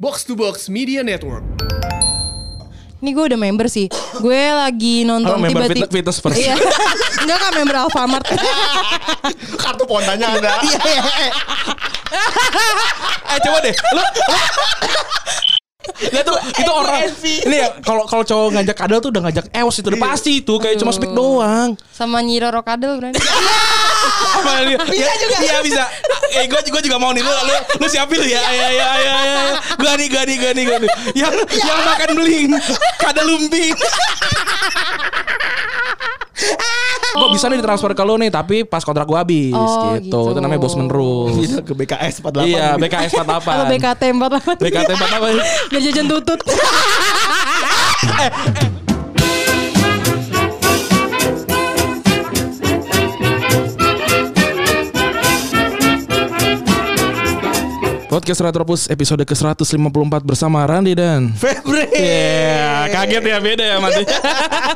Box to Box Media Network. Ini gue udah member sih. Gue lagi Halo, nonton member tiba-tiba. Fit- Fitness First. Iya. Enggak kan member Alfamart. Kartu pondanya ada. Eh coba deh, lu Ya tuh itu orang ini ya kalau kalau cowok ngajak kadal tuh udah ngajak eos itu udah pasti itu kayak cuma speak doang. Sama Nyiro Rokadel berani. Apa dia? Bisa Ya, juga. Iya bisa. Eh gue gue juga mau nih lu lu, lu siapin lu ya. Ya ya ya ya. ya. Gua nih gua nih gua nih gua nih. Yang yang makan beling kadal lumbing. Gue bisa nih ditransfer ke lu nih tapi pas kontrak gue habis Oh, gitu. gitu. Itu namanya bosman rules. Bisa ke BKS 48. Iya, BKS 48. Kalau BKT 48. BKT 48. Gak jajan tutut. Podcast Retropus episode ke-154 bersama Randi dan Febri. Iya, kaget ya beda ya mati.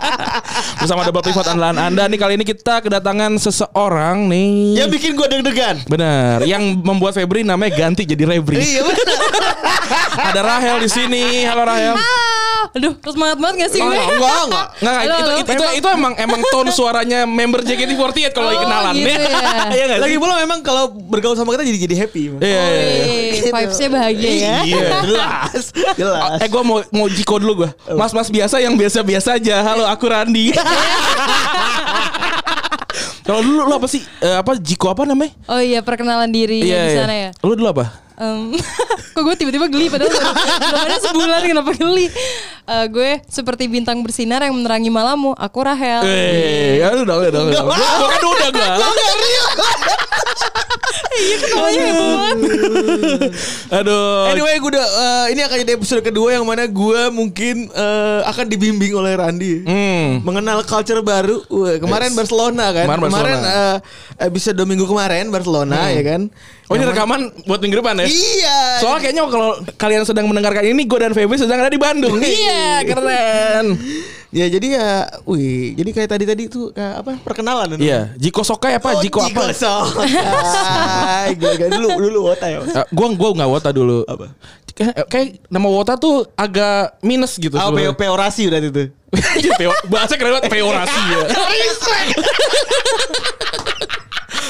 bersama double pivot andalan Anda nih kali ini kita kedatangan seseorang nih. Yang Iya, bikin gua deg-degan. Benar, yang membuat Febri namanya ganti jadi Rebri. Iya benar. Ada Rahel di sini. Halo Rahel. Ah. Aduh, terus semangat banget gak sih gue? Enggak, Oh, enggak, enggak. Iya. Enggak, Halo, itu, halo. itu, itu, itu emang emang tone suaranya member JKT48 kalau lagi Oh, kenalan. gitu ya. Iya enggak Lagi sih? pula memang kalau bergaul sama kita jadi jadi happy. Iya. Oh, iya, iya. Wih, Vibes-nya bahagia ya. jelas. Jelas. Eh gue mau mau jiko dulu gue Mas-mas biasa yang biasa-biasa aja Halo aku Randi Kalau dulu lu apa sih Eh, Apa jiko apa namanya iya. Oh iya, perkenalan diri di sana ya. Lu dulu apa Em, kok gue tiba-tiba geli padahal baru- belum ada sebulan kenapa geli? Eh, gue seperti bintang bersinar yang menerangi malammu. Aku Rahel. Eh, ya lu dong, ya dong. ya dong. Gua gua kan udah gua. Namanya heboh banget. Aduh. Anyway, gue udah eh, ini akan jadi episode kedua yang mana gue mungkin eh, akan dibimbing oleh Randi. Hmm. Mengenal culture baru. Wah, kemarin Yes. Barcelona kan. Kemarin Barcelona. eh, episode dua minggu kemarin Barcelona ya kan. Oh ini Yang mana- rekaman buat minggu depan ya? Iya. Soalnya kayaknya kalau kalian sedang mendengarkan ini gue dan Febri sedang ada di Bandung. Iya, keren. Ya jadi ya, wih, jadi kayak tadi tadi tuh eh, apa perkenalan. Oh, Iya, Jiko Sokai apa? Jiko apa? Sokai. Gila-gila. dulu dulu wota ya. Eh, gua gua nggak wota dulu. Apa? Kayak, kayak nama wota tuh agak minus gitu. Oh, sebenarnya. peo- peorasi berarti tuh. Jadi peo- bahasa keren banget peorasi ya.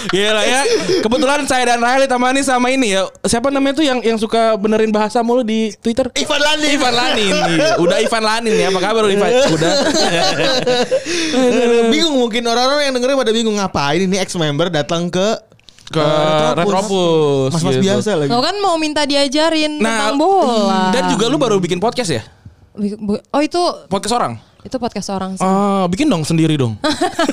Gila ya. Kebetulan saya dan Rahel ditemani sama ini ya. Siapa namanya tuh yang yang suka benerin bahasa mulu di Twitter? Ivan Landi. Ivan Lanin. Iya. Udah Ivan Lanin ya. Apa kabar lu, Ivan? Udah. Eh, Eh. bingung mungkin orang-orang yang dengerin pada bingung ngapain ini ex member datang ke Ke eh, Retropus. Mas-mas gitu. biasa lagi. Lo kan mau minta diajarin Nah, tentang bola. dan juga lu baru bikin podcast ya? Oh itu Podcast orang? itu podcast orang sih. Ah, bikin dong sendiri dong.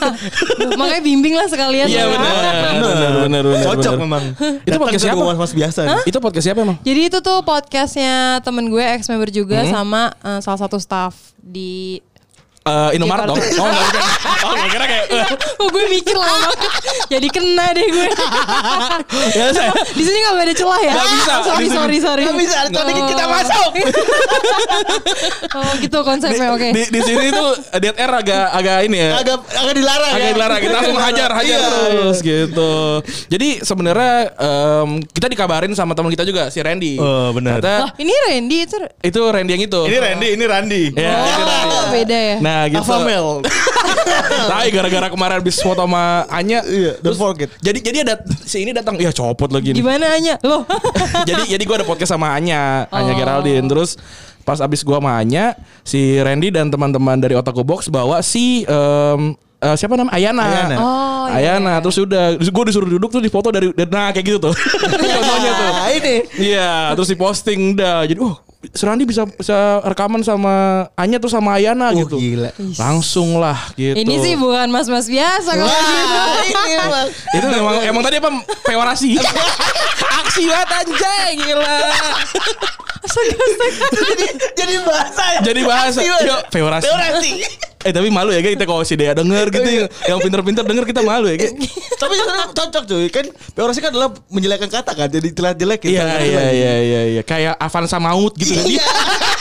Makanya bimbing lah sekalian. Oh. Iya ya. benar. Benar benar benar. Cocok benar. memang. Itu Datang podcast ke siapa? Mas-mas biasa. Itu podcast siapa emang? Jadi itu tuh podcastnya temen gue ex member juga Hmm. sama eh, salah satu staff di. Eh, Indomaret dong. Jakarta. Oh, enggak bukan. Oh, enggak kira kayak eh, Oh gue mikir lama banget. Jadi kena deh gue. ya saya. di sini nggak ada celah ya? Nggak bisa. sorry Di sini- sorry sorry. Nggak bisa, ada tadi Oh. kita masuk. oh gitu Di, konsepnya oke. di, di sini tuh Dead Air agak agak ini ya. Agak agak dilarang Agak ya. dilarang kita langsung hajar hajar Iya. terus gitu. Jadi sebenarnya em, kita dikabarin sama teman kita juga si Randy. Oh, benar. Lah Ternyata ini Randy itu. itu Randy yang itu. Ini Randy, ini Randy. Ya, Oh, itu Randy. beda ya. Nah, gitu. Avamel. Tapi gara-gara kemarin habis foto sama Anya. Iya, don't terus forget. Jadi jadi ada si ini datang, ya copot lagi nih. Gimana Anya? Loh. jadi jadi gue ada podcast sama Anya, Oh. Anya Geraldine. Terus pas abis gue sama Anya, si Randy dan teman-teman dari Otaku Box bawa si em, eh, siapa namanya Ayana. Ayana. Oh, iya. Ayana. Terus udah, gue disuruh duduk tuh dipoto dari, dari- nah kayak gitu tuh. Contohnya tuh. Nah, ini. Iya, terus diposting dah. Jadi, wah, si Randy bisa bisa rekaman sama Anya terus sama Ayana Oh, gitu. gila. Langsung lah gitu. Ini sih bukan mas-mas biasa kalau gitu. Wah, ini emang. Itu emang emang tadi apa peorasi? Aksi banget anjay gila. Jadi jadi bahasa ya. Jadi bahasa yuk peorasi. Teorasi. Eh tapi malu ya Ge, kita kalau si Dea denger gitu yang- yang pinter-pinter denger kita malu ya Ge. Tapi sebenarnya cocok cuy. Kan teorasi kan adalah menjelekkan kata kan. Jadi jelek-jelek gitu. Iya iya iya iya iya kayak Avanza Maut gitu kan.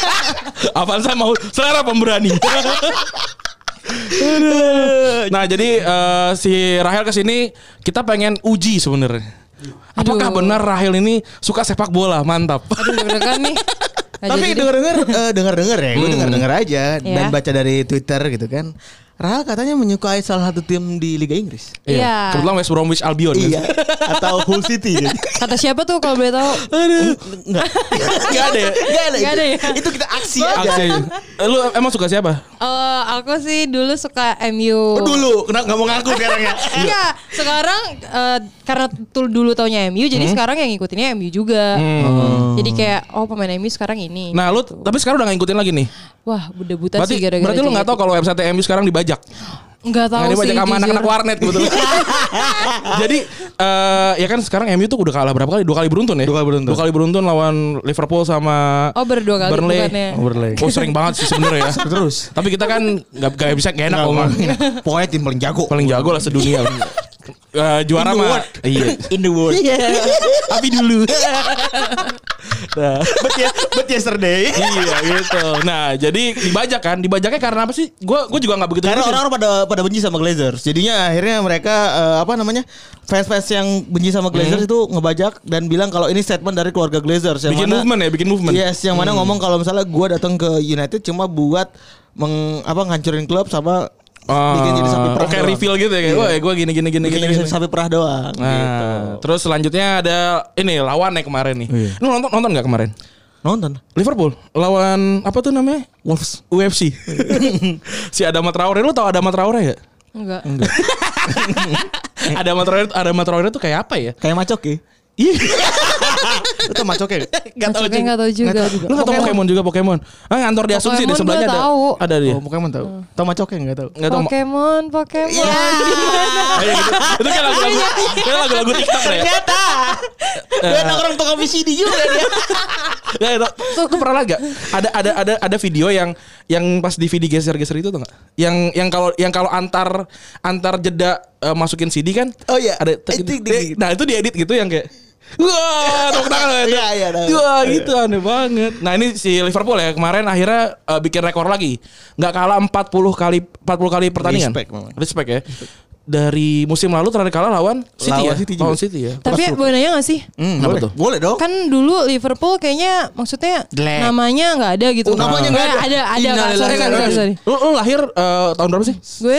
Avanza Maut selera pemberani. Aduh. nah jadi eh, si Rahel kesini kita pengen uji sebenarnya. Apakah Aduh. benar Rahel ini suka sepak bola? Mantap. Aduh deg-degan nih. Nah, Tapi jadi- denger-denger eh, denger-denger ya, Hmm. gue denger-denger aja Iya. dan baca dari Twitter gitu kan. Rahal katanya menyukai salah satu tim di Liga Inggris. Iya. Kebetulan West Bromwich Albion. kan? Iya, atau Hull City. Kata siapa tuh kalau boleh tahu? Enggak. Gak ada ya? Enggak ada. Nggak ada ya? itu. Itu kita aksi aja. Aksi. Eh, Lu emang suka siapa? Eh, aku sih dulu suka MU. Oh, Dulu, kenapa nggak mau ngaku sekarang ya? Iya, sekarang eh, karena tul- dulu taunya MU, jadi Hmm. sekarang yang ngikutinnya MU juga. Jadi kayak oh pemain MU sekarang ini. Nah lu tapi sekarang udah gak ngikutin lagi nih Wah, udah buta sih Berarti, gitu. gara-gara. berarti lu gak tau kalau website MU sekarang dibajak Enggak tahu Nggak sih. dibajak sama jujur. anak-anak warnet gitu Jadi eh ya kan sekarang MU tuh udah kalah berapa kali? Dua kali beruntun ya? Dua kali beruntun. Dua kali beruntun lawan Liverpool sama Oh, berdua kali Burnley. bukannya. Oh, Burnley. Oh, sering banget sih sebenarnya ya Terus. Tapi kita kan gak, gak bisa gak enak Nggak ngomong ngomongin. Pokoknya tim paling jago. Paling jago lah sedunia Eh, Juara In the mah world. Iya In the world. Tapi dulu But, ye- but yesterday. Iya gitu Nah jadi dibajak kan Dibajaknya karena apa sih? Gue gua juga gak begitu Karena ngikutin. orang-orang pada pada benci sama Glazers. Jadinya akhirnya mereka eh, apa namanya? fans-fans yang Mhm. benci sama Glazers itu ngebajak dan bilang kalau ini statement dari keluarga Glazers yang Bikin mana- movement ya Bikin movement Mhm. Yes, yang mana ngomong kalau misalnya gua datang ke United cuma buat meng, apa ngancurin klub sama Ah, bikin jadi sapi perah. Oke doang. reveal gitu ya kayak, wah gue gini gini gini Bikin gini. jadi gini." sapi perah doang. Nah, terus selanjutnya ada ini lawannya kemarin nih. Lu nonton nonton nggak kemarin? Nonton. Liverpool lawan apa tuh namanya? Wolves UFC. si Adama Traore lu tau Adama Traore ya? Enggak. Adama Traore Adama Traore tuh kayak apa ya? Kayak macok ya. Ih, Itu macok ya. nggak Maksudnya tahu juga. nggak tahu juga. Lu nggak tahu Pokemon juga Pokemon. Ah ngantor di Asumsi Pokemon di sebelahnya gua ada. tahu. Ada dia. Oh, Pokemon tahu. Tahu macoknya enggak tahu. Nggak tahu. Pokemon, Pokemon. Iya. Ayo, gitu. Itu kayak lagu-lagu. kayak lagu-lagu TikTok ya. Ternyata. Iya. Dia nongkrong tukang VCD juga dia. Ya, itu, tuh, tuh pernah liat gak? Ada ada ada ada video yang yang pas DVD geser-geser itu tuh gak? Yang yang kalau yang kalau antar antar jeda eh, masukin CD kan? Oh, iya. Ada Itu dia- di- Nah, itu diedit gitu yang kayak Wah, tepuk tangan loh itu. Iya, iya, tahu. Wah, gitu aneh banget. Nah, ini si Liverpool ya kemarin akhirnya eh, bikin rekor lagi. Nggak kalah 40 kali 40 kali pertandingan. Respect, memang. Respect ya. Dari musim lalu terakhir kalah lawan City Lawan ya. City juga. lawan City ya. Tapi boleh nanya gak sih? Hmm, Kenapa boleh. tuh? Boleh dong. Kan dulu Liverpool kayaknya maksudnya Jelek. namanya nggak ada gitu. Oh, namanya nggak ada. Ada ada. Kak. Innalillahi Sorry, wa sorry, inna sorry, sorry. Lu, lu lahir eh, tahun berapa sih? Gue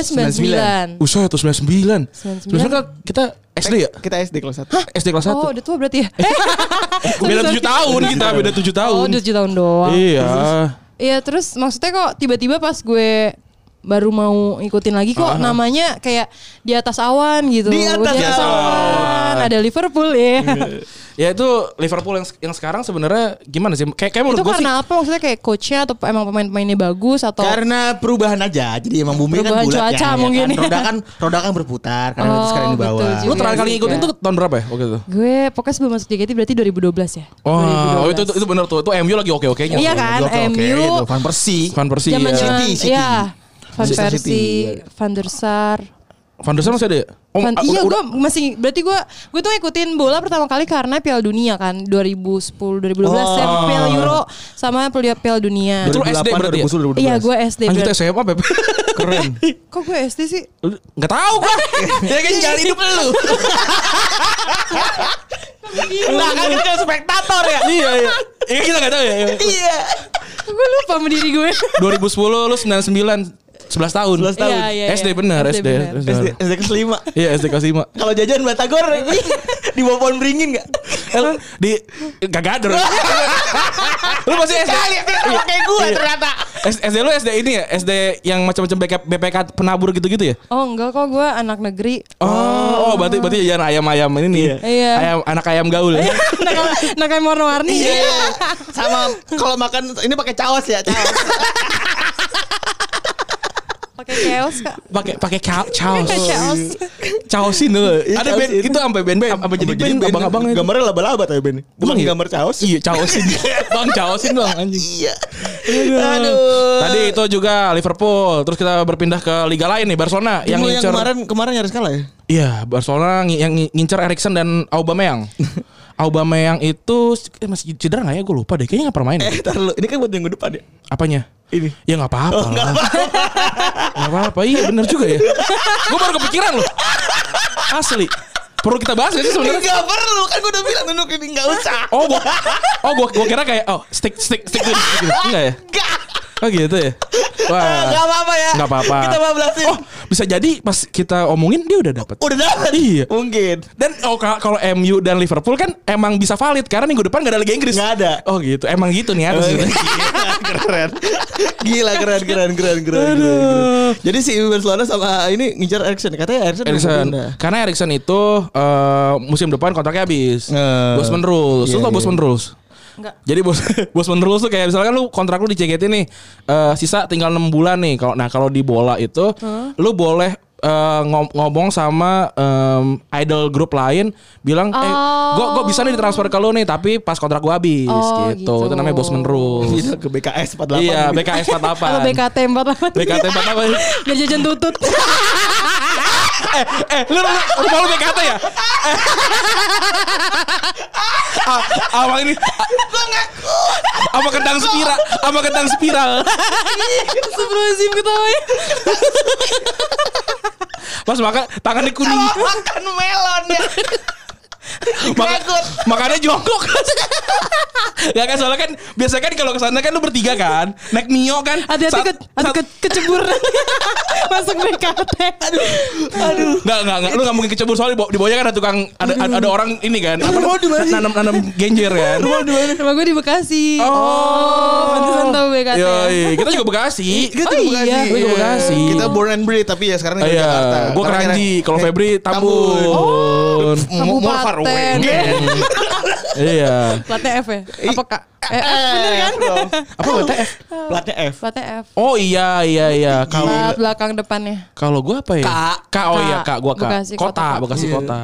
99. Usah tuh 99. 99. 99 kan kita SD ya? Kita SD kelas 1. SD kelas 1. Oh, udah tua berarti ya? beda 7 tahun kita, beda 7 tahun. Oh, udah 7 tahun doang. Iya. Iya terus maksudnya kok tiba-tiba pas gue baru mau ngikutin lagi kok namanya kayak di atas awan gitu. Di atas Iya. awan. Ada Liverpool ya. Ya itu Liverpool yang yang sekarang sebenarnya gimana sih? Kayak kayak Itu menurut gue sih karena apa maksudnya kayak coachnya atau emang pemain-pemainnya bagus atau Karena perubahan aja. Jadi emang bumi Perubahan kan bulat cuaca kan, ya mungkin. Kan? Roda kan roda kan berputar karena Oh, itu sekarang di betul bawah. juga. lu terakhir kali Iya. ngikutin tuh tahun berapa ya waktu itu? gue pokoknya sebelum masuk JKT berarti 2012 ya. Oh, itu, itu itu benar tuh. Itu MU lagi oke-okenya. Iya kan Oke, oke, MU itu. Van Persie. Van Persie. zaman ya. zaman City, City. ya Van Manchester City, Persie, iya. Van der Sar, Van der Sar masih ada ya? Oh, Fan- udah- iya udah- gue masih berarti gue gue tuh ngikutin bola pertama kali karena Piala Dunia kan 2010 2012 Oh. saya ya, Piala Euro sama Piala Piala Dunia. Itu lu SD berarti ya? 2010, 2012. Iya gue SD. Lanjut berarti. SMA, Beb. Keren. Kok gue SD sih? Enggak tahu gua. ya kan jalan hidup lu. Lah kan kita spektator ya. Iya, iya. Iya kita enggak tahu ya. Iya. Gue lupa sama diri gue. 2010 lu 99 11 tahun. 11 tahun. Iya, iya, SD iya. benar, SD SD. benar. SD, SD kelas 5. Iya, SD kelas 5. Kalau jajan Batagor di bawah pohon beringin enggak? Eh, di gak gader. lu masih SD. Sama kayak gue ternyata. iya. S- SD lu SD ini ya, SD yang macam-macam BK, BPK penabur gitu-gitu ya? Oh enggak kok gue anak negeri. Oh, oh berarti berarti jajan ayam-ayam ini nih. Iya. Ayam anak ayam gaul. Anak anak yang warna-warni. Iya. Sama kalau makan ini pakai caos ya, caos. Pakai chaos kak. Pakai pakai ca- caos. Oh, Pakai chaos. Caosin dulu. Iya, Ada band caosin. itu sampai band-band apa jadi band abang-abang itu. Gambarnya laba-laba tapi Ben. Bukan Emang iya? gambar caos. Iya, caosin. Bang caosin bang anjing. Iya. Aduh. Tadi itu juga Liverpool. Terus kita berpindah ke liga lain nih Barcelona yang Yang, yang ngincer. kemarin kemarin nyaris kalah ya? Iya, Barcelona ngi- yang ngi- ngincer Erikson dan Aubameyang. Aubameyang itu eh, masih cedera nggak ya? Gue lupa deh. Kayaknya nggak pernah main. deh. Eh, tar lu. Ini kan buat minggu depan ya. Apanya? Ini. Ya nggak apa-apa. Oh, enggak lah. apa. Nggak apa-apa. Iya bener juga ya. gue baru kepikiran loh. Asli. Perlu kita bahas gak sih sebenarnya? Enggak perlu kan gue udah bilang nunuk ini enggak usah. Oh, gua, oh gua, gua kira kayak oh stick stick stick gitu. gitu. Enggak ya? Enggak. Oh gitu ya. Enggak Wah. apa-apa ya. Enggak apa-apa. Kita bablasin. Oh, bisa jadi pas kita omongin dia udah dapet. Udah dapat. Iya. Mungkin. Dan oh ka- kalau MU dan Liverpool kan emang bisa valid karena minggu depan gak ada Liga Inggris. Nggak Oh, iya. ada. Oh gitu. Emang gitu nih harus. keren. Gila keren keren keren keren. keren, keren. Jadi si Barcelona sama ini ngincar Erikson katanya Erikson udah Erikson. pindah. Karena Erikson itu eh, musim depan kontraknya habis. Eh. Bosman rules. Iya, Lu tau iya. Bosman rules? Enggak. Jadi bos Bosman rules tuh kayak misalkan lu kontrak lu di CGT nih eh, sisa tinggal 6 bulan nih. Kalau nah kalau di bola itu lu boleh eh, ngom- ngomong sama em, idol grup lain bilang eh gua gua bisa nih ditransfer ke lu nih tapi pas kontrak gua habis Oh, gitu. gitu. Oh, Itu namanya Bosman rules. Pindah ke BKS 48. Oh. iya, BKS 48. Atau BKT 48 BKT 48. Biar jajan tutut Eh, lu rumah, rumah lu BKT ya? Eh. A- Awang Ah, ini a- Sama kendang spiral Sama kendang spiral Sebelum ketawa ya Pas makan tangannya kuning Oh, Makan melon ya. Maka- Makannya jongkok Gak kan soalnya kan Biasanya kan kalau kesana kan lu bertiga kan Naik Mio kan Hati-hati Sat- ke, hati sat- ke, kecebur Masuk BKT Aduh Aduh Nggak, nggak, nggak. Lu nggak mungkin kecebur soalnya di bawah- di bawahnya kan ada tukang ada ada, ada orang ini kan. Apa nanam nanam genjer kan. Rumah gue di Oh. Bekasi Pantesan tau BKT Oh. Yoi, kita juga Bekasi. Gitu Kita Oh tuh Bekasi. iya. Gua juga Iya. Bekasi. Kita born and breed tapi ya sekarang di Iya, Jakarta. gue Karena- keranji. Kalau eh, Febri Tambun. More more far away. Gitu. iya. Platnya F ya Apa kak? Eh, F bener kan? Apa WTF? Platnya F. Platnya F Oh iya iya iya. Kalau Plat belakang depannya kalau gue apa ya? Kak. Kak oh iya Kak. kak gue kak. Bekasi kota, kota. Bekasi Iya. kota.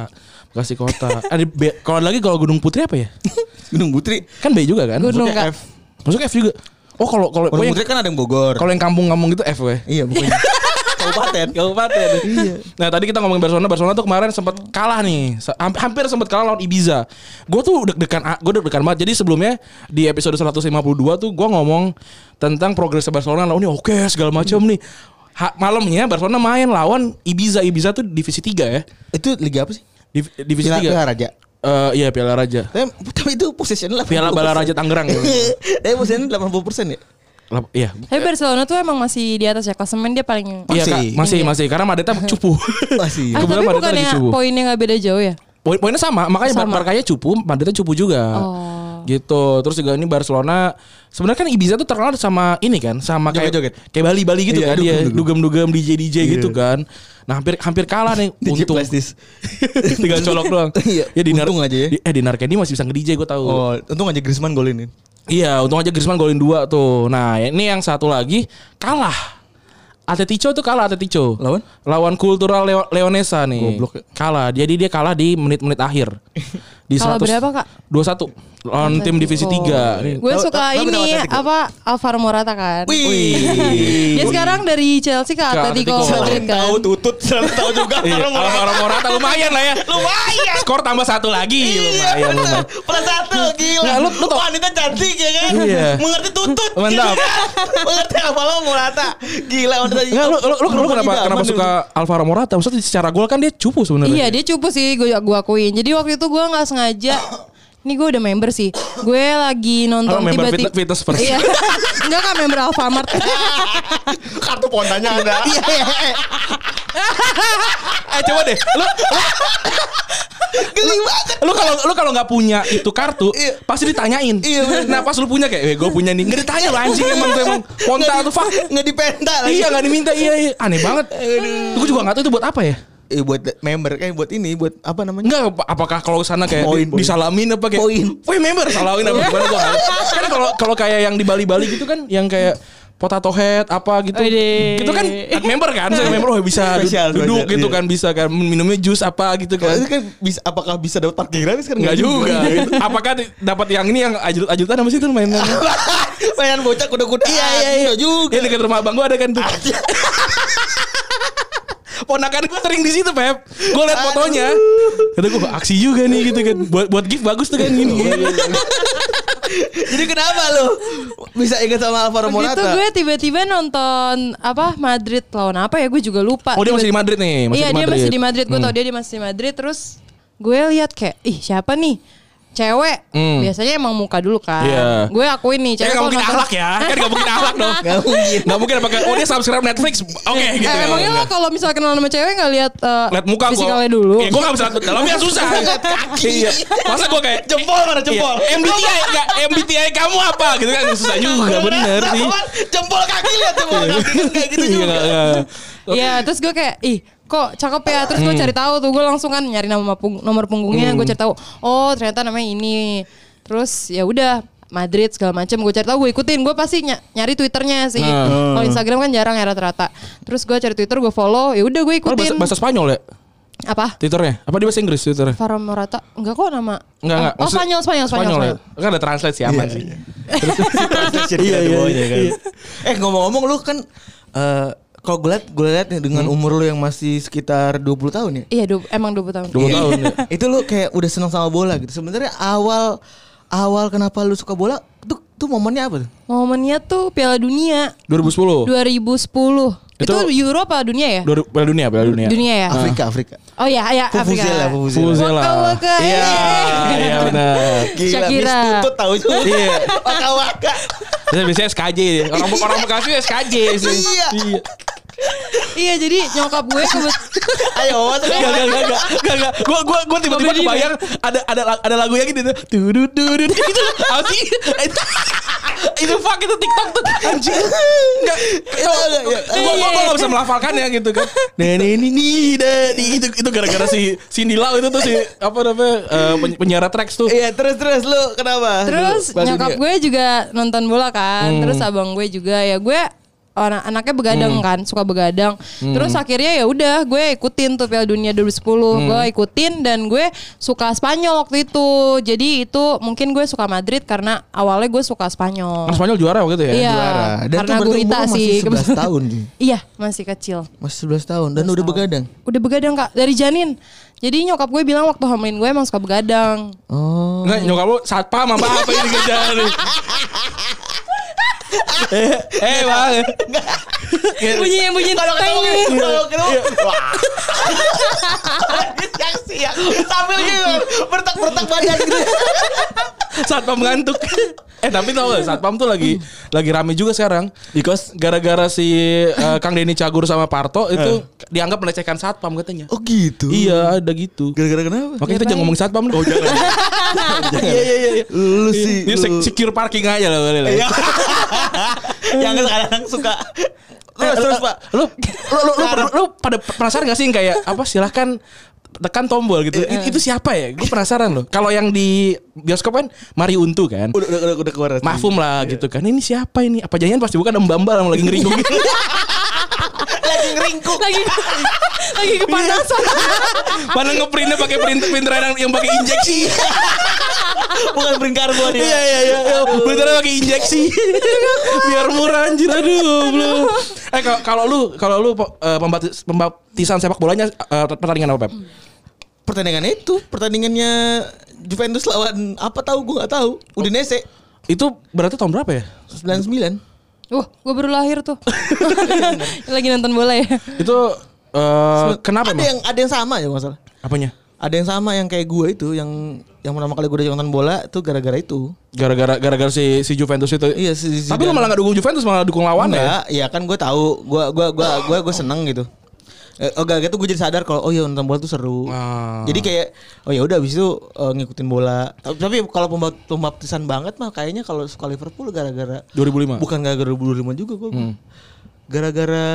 Bekasi kota. Ada B- kalau lagi kalau Gunung Putri apa ya? Gunung Putri. Kan B juga kan? Gunung Maksudnya kak F. Masuk F juga. Oh kalau kalau gua Gunung yang- Putri kan ada yang Bogor. kalau yang kampung-kampung gitu F weh. Iya bukannya. Kabupaten. Kabupaten. Iya. Nah tadi kita ngomongin Barcelona, Barcelona tuh kemarin sempat kalah nih, Se- ham- hampir sempat kalah lawan Ibiza. Gue tuh deg-degan, gue deg-degan banget. Jadi sebelumnya di episode 152 tuh gue ngomong tentang progres Barcelona, lawan ini oke segala macam nih. Ha- malamnya Barcelona main lawan Ibiza, Ibiza tuh divisi 3 ya, Itu liga apa sih? Div- divisi Piala, 3 Piala Raja. Eh iya Piala Raja. Tapi, tapi itu position lah. Piala Bala Raja Tangerang. Tapi position 80 persen ya. Lap- Iya. Tapi Barcelona tuh emang masih di atas ya Klasemen dia paling Iya Masih. Kak, masih masih karena Madeta cupu. Masih. Ah, tapi Kebetulan Madrid bukannya lagi cubu. poinnya nggak beda jauh ya? Poin poinnya sama, makanya Sama. Bar- Barkanya cupu, Madridnya cupu juga. Oh. Gitu. Terus juga ini Barcelona sebenarnya kan Ibiza tuh terkenal sama ini kan, sama kayak Joget-joget. kayak Bali-Bali gitu Iya, kan dia, dugem-dugem. dugem-dugem DJ DJ gitu kan. Nah, hampir hampir kalah nih DJ untung. Plastis. Tinggal colok doang. Iya, Nar- untung aja ya. di- eh di Narkendi masih bisa nge-DJ gue tahu. Oh, untung aja Griezmann golin ya. ini. Iya, untung aja Griezmann golin dua tuh. Nah, ini yang satu lagi kalah. Atletico tuh kalah Atletico. Lawan? Lawan Kultural Leo- Leonesa nih. Goblok ya. Kalah. Jadi dia kalah di menit-menit akhir. Di Kalah berapa, Kak? 21 lawan tim divisi 3. Nih. Gue Tahu- Oh. suka tahu- tahu ini kenapa Atletico? apa Alvaro Morata kan. Wih. Dia Iya, sekarang dari Chelsea ke Atletico Iya. Atletico. Madrid kan. Tahu tutut, selalu tahu juga. Iya, Alvaro Morata lumayan lah ya. Lumayan. Skor tambah satu lagi Iya lumayan. bener lumayan. Plus satu gila Nggak, Nah, lu- lu tau- Wanita cantik ya kan Iya. Mengerti tutut Mantap. gitu kan? Mengerti apa lo Murata Gila wanita Enggak, lu, lu, lu, lu Perempuan kenapa tidak kenapa aman suka Alvaro Morata? Maksudnya secara gol kan dia cupu sebenarnya. Iya dia cupu sih gue gua akuin. Jadi waktu itu gue nggak sengaja. Ini gue udah member sih. Gue lagi Oh, nonton member tiba-tiba. fit- fitness first. Iya. Enggak kan member Alfamart. itu? Kartu pontanya ada iya, Eh coba deh, lu Geli banget lu kalau lu kalau nggak punya itu kartu Iya. pasti ditanyain. Iya, bener. nah pas lu punya kayak, gue punya nih. Nggak ditanya lu anjing emang tuh emang ponta tuh fuck. Nggak dipenta lagi Iya nggak diminta iya, iya. aneh banget. Gue juga nggak tahu itu buat apa ya. Eh, Buat member kayak buat ini Buat apa namanya Enggak apa- apakah kalau sana kayak Poin, di- poin. disalamin apa kayak Poin. Woi member salamin apa gimana gua nggak tahu. Kan kalau kalau kayak yang di Bali-Bali gitu kan yang kayak potato head apa gitu. Wede. Itu kan ad member kan, saya member oh bisa du- Spesial, duduk spesial, gitu iya. kan bisa kan minumnya jus apa gitu Itu kan. kan bisa, apakah bisa dapat parkir gratis kan Enggak Iya juga. Apakah di- dapat yang ini yang ajut-ajutan apa sih itu mainan? Mainan bocah kuda-kuda Iya iya iya juga Yang dekat rumah abang gue ada kan tuh. Ponakan gue sering di situ, Pep. Gue liat fotonya. Kata gue aksi juga nih gitu kan. Buat buat gift bagus tuh kan gini. Iya, Jadi kenapa lo Bisa ingat sama Alvaro Begitu Morata gue tiba-tiba nonton apa Madrid lawan apa ya gue juga lupa. Oh, dia Tiba- masih di Madrid nih, masih Iya di dia Madrid. masih di Madrid. Gue Hmm. tau dia dia masih di Madrid. Terus gue lihat kayak ih siapa nih cewek Hmm. biasanya emang muka dulu kan Iya. gue akuin nih Kan cewek gak kalau mungkin nonton- akhlak ya Kan gak mungkin akhlak dong Gak mungkin Gak mungkin apakah Oh dia subscribe Netflix Oke Eh, gitu Gak emangnya lo mungkin. kalau misalnya kenal sama cewek gak lihat eh, Lihat muka gue fisikalnya dulu ya, Gue gak bisa lihat dalamnya susah Lihat kaki iya. Masa gue kayak iya, Jempol mana jempol MBTI gak, MBTI kamu apa Gitu kan susah Iya. juga Bener sih Jempol kaki lihat jempol kaki kan kayak gitu Iya, juga. gak- gak. Iya, terus gue kayak, ih kok cakep ya. Terus Hmm. gue cari tahu tuh, gue langsung kan nyari nama pung- nomor punggungnya, gue cari tahu. Oh ternyata namanya ini. Terus ya udah Madrid segala macem gue cari tahu gue ikutin gue pasti ny- nyari twitternya sih Nah. kalau Instagram kan jarang ya rata-rata terus gue cari twitter gue follow ya udah gue Oh, ikutin bahasa, bahasa Spanyol ya apa Twitternya Apa di bahasa Inggris Twitternya Farah Morata enggak kok nama Enggak enggak oh Maksud- Spanyol Spanyol Spanyol, ya? Spanyol. Kan ada translate sih aman iya. sih Iya, iya, iya. Eh ngomong-ngomong lu kan eh kalau gue liat, gue liat nih dengan umur lu yang masih sekitar 20 tahun ya. iya du- emang 20 tahun 20 tahun ya. itu lu kayak udah seneng sama bola gitu. Sebenarnya awal awal kenapa lu suka bola tuh tuh momennya apa tuh? momennya tuh Piala Dunia 2010 2010 itu, Itu- Euro apa dunia ya Dua- Piala dunia Piala dunia dunia ya Afrika, Afrika. Oh ya, ya Afrika. Vuvuzela, Vuvuzela. Vuvuzela. Waka waka. Iya Iya benar Shakira. Miss Tutut tahu juga. Iya. Waka-waka. Biasanya, biasanya SKJ deh. Orang orang Bekasi ya SKJ sih. Iya. Iya, jadi nyokap gue kebet- Ayo, Wawan, Gak gak gak gak gak gak. Gua gua gua tiba-tiba Pembeli kebayang ada ada ada lagu yang gitu. Tudu tudu gitu. Apa sih? Itu- Itu fuck itu TikTok tuh anjing. Enggak. Gua gua gua gak bisa melafalkan ya gitu kan. Nene ini ni da di nah, itu itu gara-gara si Cindy Lau itu tuh si apa namanya eh, peny- penyiar tracks tuh. Iya, terus terus lu kenapa? Terus Dulu, pas nyokap dunia. gue juga nonton bola kan. Terus abang gue juga ya gue orang anaknya begadang kan, suka begadang. Terus akhirnya ya udah gue ikutin tuh Piala Dunia 2010. Gue ikutin dan gue suka Spanyol waktu itu. Jadi itu mungkin gue suka Madrid karena awalnya gue suka Spanyol. Orang Spanyol juara waktu itu ya. Iya, Juara. Dan karena tuh berarti gurita umur masih sih. 11 tahun, Ji. iya, masih kecil. masih 11 tahun dan udah begadang. Udah begadang kak dari janin. Jadi nyokap gue bilang waktu hamilin gue emang suka begadang. Oh. Nggak, nyokap lu satpam apa apa ini kerjaan nih. Eh, eh, bang. bunyi yang bunyi Kalau ketemu teng. kalau ketemu Iya. wah. Siang-siang sambil gitu bertak-bertak badan gitu. Satpam ngantuk. Eh tapi tau gak Satpam tuh lagi lagi rame juga sekarang Because Gara-gara si eh, Kang Denny Cagur sama Parto Itu dianggap melecehkan Satpam katanya Oh gitu. Iya ada gitu Gara-gara kenapa? Makanya kita jangan ngomong Satpam deh Oh Iya iya iya. Lu sih. Ini lu- sek- secure parking aja lah kali lah. Yang kadang suka Terus terus Pak Lu lu, lu, lu, lu pada penasaran gak sih yang kayak Apa silahkan tekan tombol gitu It- Itu siapa ya Gue penasaran loh Kalau yang di bioskop kan Mari Untu kan udah udah udah, udah keluar. hati. Mahfum lah gitu kan Ini siapa ini Apa jangan pasti bukan Mbak-mbak yang lagi ngeringgung gitu lagi ngeringkuk. lagi lagi kepanasan. Iya. Mana ngeprintnya pakai printer printer yang yang pakai injeksi. bukan beringkar gua Iya iya iya. Printernya pakai injeksi. Biar murah anjir aduh belum. Eh kalau kalau lu kalau lu eh, pembaptis- pembaptisan sepak bolanya eh, pertandingan apa Pep? Pertandingan itu pertandingannya Juventus lawan apa tahu gua nggak tahu. Udinese Itu berarti tahun berapa ya? 99. Wah, gue baru lahir tuh. lagi nonton bola ya. Itu eh kenapa Ada emang? yang ada yang sama ya nggak salah. Apanya? Ada yang sama yang kayak gua itu yang yang pertama kali gua udah nonton bola itu gara-gara itu. Gara-gara gara-gara si si Juventus itu. Iya, si- si Tapi lu Zidane. malah gak dukung Juventus malah dukung lawan ya. Enggak, ya kan gue tahu, gue gua gua gua gua seneng gitu. Eh, Oh gak gitu gue jadi sadar kalau oh iya nonton bola tuh seru. Ah. Jadi kayak oh ya udah abis itu eh, ngikutin bola. Tapi, tapi kalau pembaut- pembaptisan banget mah kayaknya kalau suka Liverpool gara-gara 2005. bukan gara-gara 2005 juga gue. Hmm. Gara-gara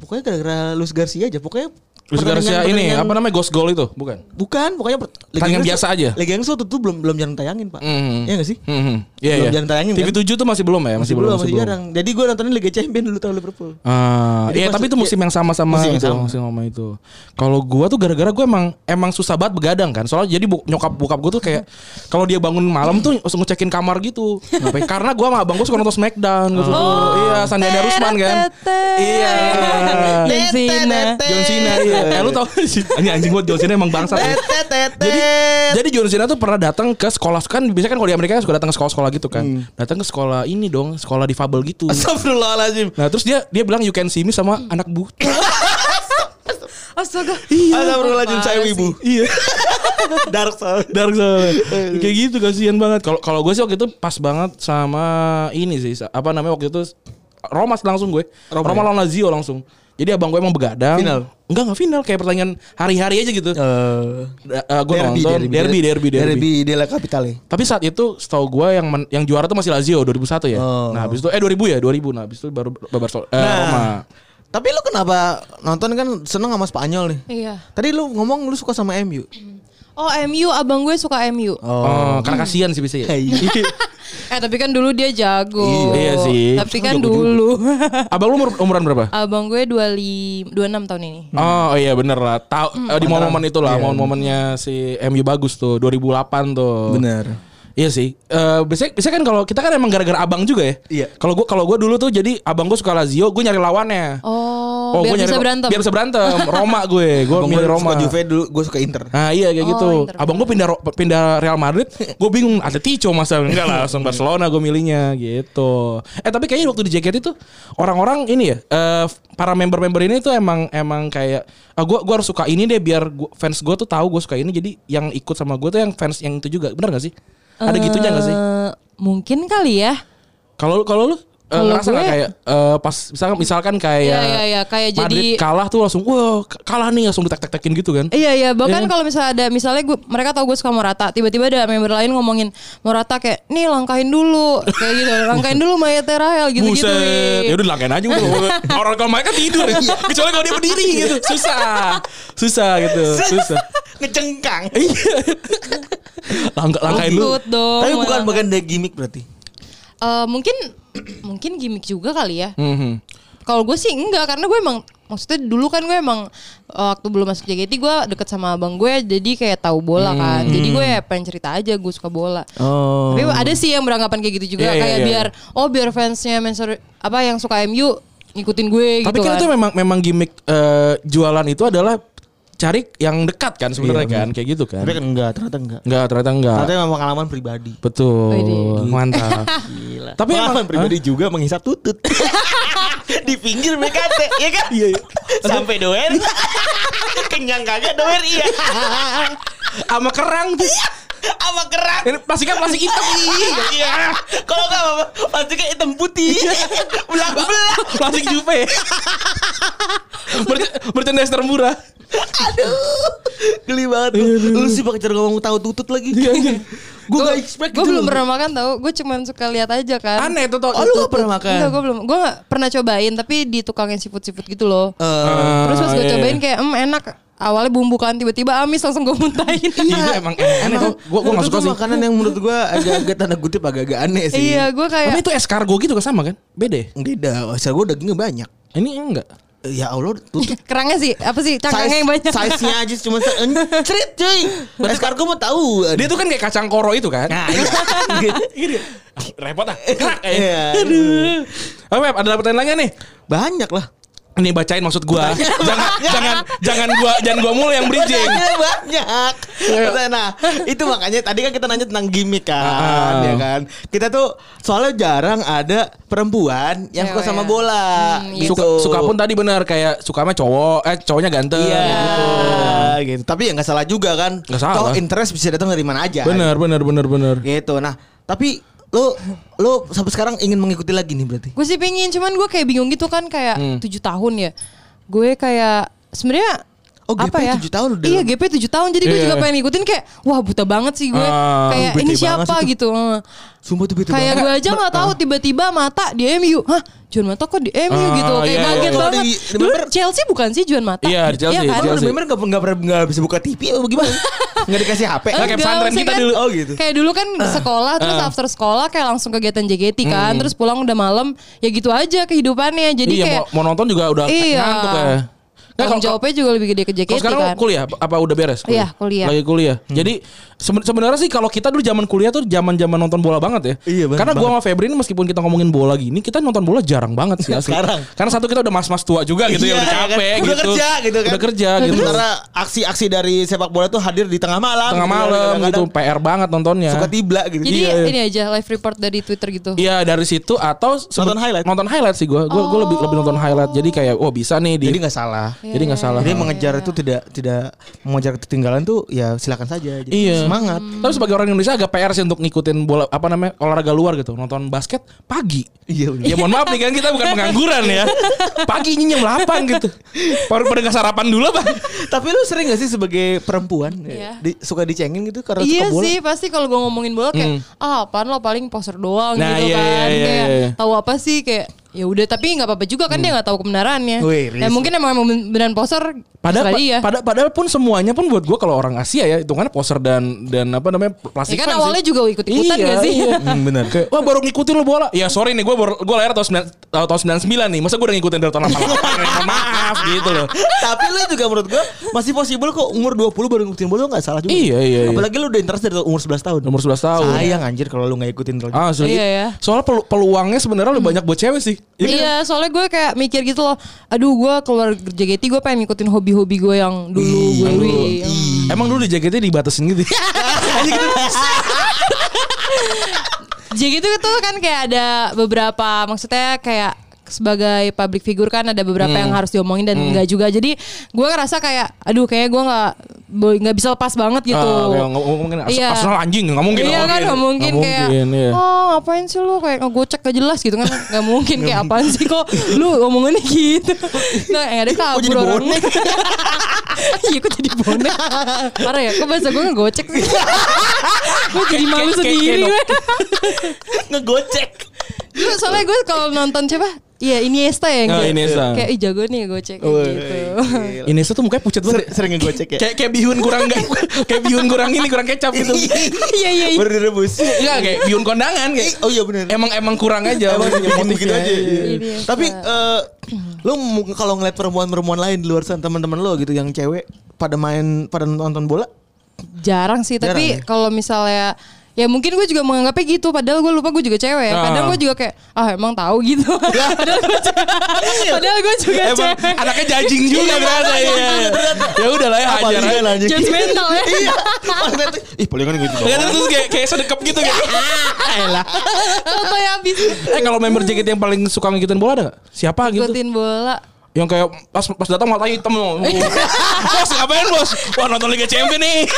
pokoknya gara-gara Luis Garcia aja. Pokoknya Terus gara-gara pertandingan- ini pertandingan- apa namanya ghost goal itu, bukan? Bukan, pokoknya per- Pertandingan Liga Inggris biasa tuh- aja. Liga Inggris waktu itu belum belum jarang tayangin, Pak. Mhm. Iya gak sih? Hmm, iya, Belum iya. jangan tayangin, kan? TV 7 tuh masih belum ya, masih, Masih belum, belum, masih jarang. Jadi gue nontonnya Liga Champions dulu tahun Liverpool. Ah, Jadi iya pas- tapi itu musim yang sama-sama Musim yang itu, sama. musim yang sama itu. Kalau gua tuh gara-gara gua emang emang susah banget begadang kan. Soalnya jadi bu- nyokap bokap gua tuh kayak kalau dia bangun malam tuh langsung ngecekin kamar gitu. Kenapa ya? Karena gua sama abang gua suka nonton Smackdown gua suka. Oh. iya, Sandiaga Rusman kan. Tetetet. Iya. John Cena. John Cena iya. Eh lu tau sih. Ini anjing gua John Cena emang bangsat. ya. Jadi jadi John Cena tuh pernah datang ke sekolah kan biasanya kan kalau di Amerika kan suka datang ke sekolah-sekolah gitu kan. Datang ke sekolah ini dong, sekolah difabel gitu. Astagfirullahaladzim Nah terus dia dia bilang you can see me sama anak buta. Astaga. Iya, Astagfirullahaladzim saya Parah wibu. sih. Iya. Dark side. Dark Iya, Side. Kayak gitu kasihan banget. Kalau kalau gue sih waktu itu pas banget sama ini sih sa- apa namanya waktu itu Romas langsung gue. Roma, lawan Lazio langsung. Jadi abang gue emang begadang. iya. Final? Enggak enggak final kayak pertandingan hari-hari aja gitu. Da- eh, gue Derby, nonton derby derby derby, Derby della Capitale. Tapi saat itu setahu gue yang men- yang juara tuh masih Lazio 2001 ya. Oh. Nah. Nah, habis itu eh 2000 ya, 2000. Nah, habis itu baru Barcelona eh, Roma. Tapi lu kenapa nonton kan seneng sama Spanyol nih? Iya. Tadi lu ngomong lu suka sama MU. Oh MU abang gue suka MU. Oh, karena kasihan sih bisa ya. Iya. Eh tapi kan dulu dia jago. Iya sih. Tapi kan dulu. Abang lu umur, umuran berapa? abang gue 25 26 tahun ini. Hmm. Oh iya bener lah tahu eh, di momen-momen itu Iya. lah momen-momennya si MU bagus tuh 2008 tuh Bener. Iya sih. Eh biasanya, biasanya kan kalau kita kan emang gara-gara abang juga ya. Iya. Kalau gua kalau gua dulu tuh jadi abang gua suka Lazio, gua nyari lawannya. Oh, biar gua bisa nyari- berantem. Biar bisa berantem. Roma gue, gua Abang milih gue Roma. suka Juve dulu, gue suka Inter. Nah iya kayak Oh, gitu. Inter. Abang gua pindah Ro- pindah Real Madrid, gua bingung Atletico masa enggak lah langsung Barcelona gua milihnya gitu. Eh tapi kayaknya waktu di JKT itu orang-orang ini ya eh, para member-member ini tuh emang emang kayak ah, gua gua harus suka ini deh biar gua- fans gua tuh tahu gua suka ini jadi yang ikut sama gua tuh yang fans yang itu juga. Bener gak sih? Ada gitunya gak sih? Eh, Mungkin kali ya. Kalau kalau lu eh, Kalau ngerasa nggak gue- kayak eh, pas misalkan misalkan kayak Iya, iya, iya, kayak Madrid jadi- kalah tuh langsung wah kalah nih langsung ditek-tekin gitu kan. Iya iya bahkan Iya. kalau misalnya ada misalnya gue mereka tahu gue suka Morata tiba-tiba ada member lain ngomongin Morata kayak nih langkahin dulu kayak gitu langkahin dulu Mayate Rahel gitu gitu Buset, ya udah dilangkain aja udah. Orang kalau mereka tidur, kecuali kalau dia berdiri gitu, susah, susah gitu, susah. Ngecengkang. Iya. Langka, langkain lu. Iya. dong Tapi bukan Morata. bagian dari gimmick berarti. Eh, mungkin mungkin gimmick juga kali ya Mhm. kalau gue sih enggak karena gue emang maksudnya dulu kan gue emang eh, waktu belum masuk JKT gue deket sama abang gue jadi kayak tahu bola Hmm. kan jadi gue ya pengen cerita aja gue suka bola tapi ada sih yang beranggapan kayak gitu juga Oh. Iya, iya, kayak iya. biar oh biar fansnya Manchester apa yang suka MU ngikutin gue Tapi gitu kan kan itu memang memang gimmick eh, jualan itu adalah cari yang dekat kan sebenarnya kan, kayak gitu kan. Iya, Tapi kan enggak, ternyata enggak. Enggak, ternyata enggak. Ternyata memang pengalaman pribadi. Betul. Wede. Mantap. Gila. Tapi Tapi emang- pengalaman pribadi juga menghisap tutut. Di pinggir BKT, ya kan? Iya, iya. Sampai doer. Kenyang kagak doer iya. Sama kerang tuh. Apa kerak? Ini plastiknya plastik hitam. Iya. Kalau enggak apa-apa, plastiknya hitam putih. Iya. Belak-belak. plastik jupe. Mer- Merchandise termurah. Aduh. Geli banget Iya, lu. Lu sih pakai cara ngomong tahu tutut lagi. Gue gak expect gue gitu belum loh. pernah makan tau gue cuman suka lihat aja kan Aneh tuh tau. Oh, lu gak pernah makan? Enggak, gue belum gue nggak pernah cobain tapi di tukangnya seafood seafood gitu loh terus pas gue Eh, iya, iya. cobain kayak em enak awalnya bumbu kan tiba-tiba amis langsung gue muntahin Iya emang aneh tuh. Gua gua enggak Itu suka tuh sih. makanan yang menurut gue agak-agak tanda kutip agak-agak aneh sih. iya gue Tapi kayak itu escargot gitu kan sama kan? Beda. ya? Beda, asal gue dagingnya banyak. Ini enggak. Ya Allah, tutut. kerangnya sih apa sih cangkangnya yang banyak Size-nya aja cuma se- encrit cuy. Escargot mau tahu. Dia tuh kan kayak kacang koro itu kan? Nah, iya. Gini. Ah, Repot ah. Kerak Iya. kayaknya. Aduh. Oh, Mep, ada pertanyaan lagi nggak nih? banyak lah. Ini bacain maksud gua. jangan jangan jangan gua jangan gua mulu yang bridging. Pertanyaannya banyak. Pertanyaan- Nah, itu makanya tadi kan kita nanya tentang gimmick kan, Iya. Ah. ya kan. Kita tuh soalnya jarang ada perempuan Iya, yang suka Cewek. sama bola. Hmm, gitu. Suka, suka pun tadi benar kayak suka sama cowok, eh cowoknya ganteng Iya, gitu. gitu. Tapi ya nggak salah juga kan. Nggak salah. Toh interest bisa datang dari mana aja. Bener, bener, bener, bener. Gitu. Nah, tapi lu lu sampai sekarang ingin mengikuti lagi nih berarti. Gue sih pingin, cuman gue kayak bingung gitu kan Hmm. kayak tujuh tahun ya. Gue kayak sebenarnya Oh, GP apa ya? 7 tahun udah. Iya, GP 7 tahun. Jadi gue Iya. juga pengen ngikutin kayak wah buta banget sih gue. Ah, kayak bete ini banget siapa sih tuh. gitu. Heeh. Sumpah tuh bete Kayak gue aja nggak tahu tiba-tiba mata di MU. Hah, Juan Mata kok di MU Ah, gitu. Kayak iya, kaget iya. banget. Di- di Dulu member- Chelsea bukan sih Juan Mata? Iya, di Chelsea, kan? di Chelsea. bener nggak nggak pernah- nggak bisa buka TV atau gimana? Nggak dikasih HP. Nggak kayak Enggak, pesantren maksudnya kita kan- dulu. Eh. Oh gitu. Kayak dulu kan sekolah terus after sekolah kayak langsung kegiatan JKT kan, terus pulang udah malam, ya gitu aja kehidupannya. Jadi Hmm. iya, kayak mau, mau nonton juga udah Iya. ngantuk ya. Nah, Tanggung kalau- jawabnya juga lebih gede ke Kalau JKT sekarang kan. kuliah apa- apa udah beres? Iya, kuliah. Lagi kuliah. Hmm. Jadi seben- sebenarnya sih kalau kita dulu zaman kuliah tuh zaman-zaman nonton bola banget ya. Iya, bener Karena gua sama Febri ini meskipun kita ngomongin bola gini, kita nonton bola jarang banget sih asli. Sekarang. Karena satu kita udah mas-mas tua juga gitu ya, udah Iya, capek kan. gitu. Udah kerja gitu kan. Udah kerja gitu. Sementara aksi-aksi dari sepak bola tuh hadir di tengah malam. Tengah gitu kan. malam gitu, Kadang-kadang PR banget nontonnya. Suka tibla gitu. Jadi ya Iya. ini aja live report dari Twitter gitu. Iya dari situ atau sebe- Nonton highlight. Nonton highlight sih gue. Gue lebih lebih nonton highlight. Jadi kayak oh bisa nih di Jadi nggak salah. Jadi nggak salah. Jadi mengejar itu tidak tidak mengejar ketinggalan tuh ya silakan saja. Jadi Iya. Semangat. Hmm. Tapi sebagai orang Indonesia agak PR sih untuk ngikutin bola apa namanya olahraga luar gitu. Nonton basket pagi. Iya. Ya mohon maaf nih kan kita bukan pengangguran ya. Pagi ini jam 8 gitu. Baru pada nggak sarapan dulu bang. Tapi lu sering gak sih sebagai perempuan Iya. di- suka dicengin gitu karena Iya suka bola? sih pasti kalau gue ngomongin bola kayak ah apaan lo paling poster doang Hmm. Nah, gitu iya, kan iya, iya, kayak iya. Hmm. tahu apa sih kayak ya udah tapi nggak apa-apa juga kan dia nggak tahu kebenarannya. Wih, ya Riz. mungkin emang emang beneran poster Padahal, terserah dia. pada, padahal pun semuanya pun buat gue kalau orang Asia ya hitungannya poser dan dan apa namanya Ya plastik kan fans awalnya sih. juga ikut-ikutan Iya, gak sih? iya. Hmm, benar. Kayak, wah baru ngikutin lo bola. Ya sorry nih, gue gue lahir tahun 9, tahun 99 nih. Masa gue udah ngikutin dari tahun 88? Maaf gitu loh. Tapi lu juga menurut gua masih possible kok umur 20 baru ngikutin bola nggak salah juga. Iya, iya, iya. Apalagi lu udah interest dari umur 11 tahun. Nomor 11 tahun. Sayang anjir kalau lu nggak ikutin terus. Ah, asli. Iya, ya. Hmm. Soalnya pelu- peluangnya sebenarnya lebih banyak buat cewek sih. Iya kan? Iya, soalnya gue kayak mikir gitu loh. Aduh, gue keluar JGT gue pengen ngikutin hobi-hobi gue yang dulu gue Aduh. dulu. Iya. iya. Emang dulu di JKT dibatasin gitu. JGT itu kan kayak ada beberapa maksudnya kayak sebagai public figure kan ada beberapa Hmm. yang harus diomongin dan enggak juga. Jadi gue ngerasa kayak aduh kayaknya gue nggak bo- nggak bisa lepas banget gitu. Ah, kayak nggak- nggak mungkin. As- Iya. Arsenal anjing nggak mungkin. iya kan nggak mungkin, kayak iya. oh ngapain sih lu kayak ngegocek gak jelas gitu kan nggak mungkin kayak apaan sih kok lu ngomongannya gitu nah yang ada kabur jadi orangnya iya kok jadi bonek parah ya kok bahasa gue ngegocek sih gue jadi malu Kayak- kayak- sendiri kayak- gue Ngegocek. Dulu soalnya gue kalau nonton siapa Iya Iniesta ya yang Oh, kayak- Iniesta. iya. kayak "Ih, jago nih gocek kayak gitu. Inesa tuh mukanya pucat banget. Sering, sering ngegocek ya. Kayak kayak bihun kurang nggak- kayak bihun kurang ini kurang kecap gitu. Iya iya iya. Baru direbus. Enggak kayak bihun kondangan kayak. Oh iya benar. Emang emang kurang aja. Emang bikin begitu aja. Iya. Tapi eh, lu mu- kalau ngeliat perempuan-perempuan lain di luar sana teman-teman lo gitu yang cewek pada main pada nonton bola Jarang sih, tapi kalau misalnya ya mungkin gue juga menganggapnya gitu padahal gue lupa gue juga cewek Ah. Iya. kadang gue juga kayak ah emang tahu gitu padahal gue juga, padahal gue juga Iya, Emang cewek anaknya jajing juga berasa ya. iya. Ya udah lah ya hajar Apalagi aja. kan anjing. judgmental ya Iya. Pas ngeliat, Ih palingan gitu. Terus terus kayak kayak sedekap gitu kayak. Ah, elah. Toto ya abis Eh kalau member Hmm. JKT yang paling suka ngikutin bola ada gak? Siapa gitu? ikutin bola Yang kayak pas pas datang matanya hitam loh. bos ngapain bos? Wah nonton Liga Champion nih.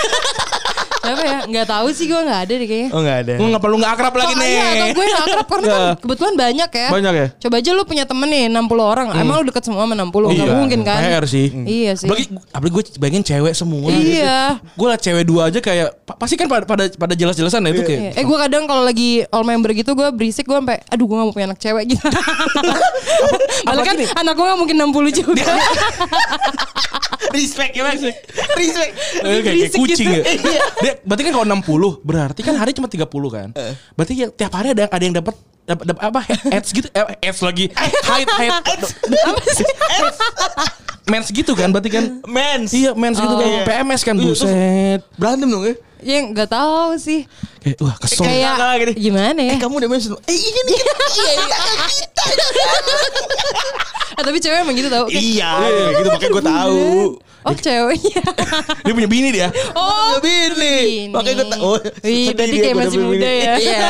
apa ya nggak tahu sih gue nggak ada deh kayaknya Oh enggak ada. Gue nggak perlu nggak akrab lagi Oh, nih. Iya. iya, atau gue gak akrab karena kan kebetulan banyak ya. Banyak ya? Hmm. Coba aja lu punya temen nih 60 orang. Emang lu deket semua sama 60? Gak mungkin kan? PR Iya. sih. Iya sih. Apalagi, apalagi gue bayangin cewek semua. Iya. Gue lah cewek dua aja kayak pa- pasti kan pada pada, pada jelas-jelasan ya itu kayak. Iya. Eh gue kadang kalau lagi all member gitu gue berisik gue sampai aduh gue gak mau punya anak cewek gitu. Padahal kan anak gue gak mungkin 60 juga. Respect ya Mas. Respect. Eh, kayak, kayak berisik kucing gitu. ya. Dia, berarti kan kalau 60 berarti kan hari cuma 30 kan. Eh. Berarti ya, tiap hari ada ada yang dapat dapat dapat apa ads gitu eh, ads lagi height height mens gitu kan berarti kan Mens. iya mens Oh, gitu kan PMS Iya, kan buset Berantem dong ya. ya gak tahu sih. kayak wah kesel Kayak enggak, enggak, gini. gimana ya? Eh kamu udah mens. belum? Eh iya nih. Iya iya. Ah, tapi cewek emang gitu tau. Kayak, Iya. Gitu makanya gue tahu. Oh ceweknya. dia punya bini dia Oh Lebih ini. Bini. Makanya gue tahu. Oh, Wih, sedih berarti dia, kayak gua masih udah muda bini. ya. Iya.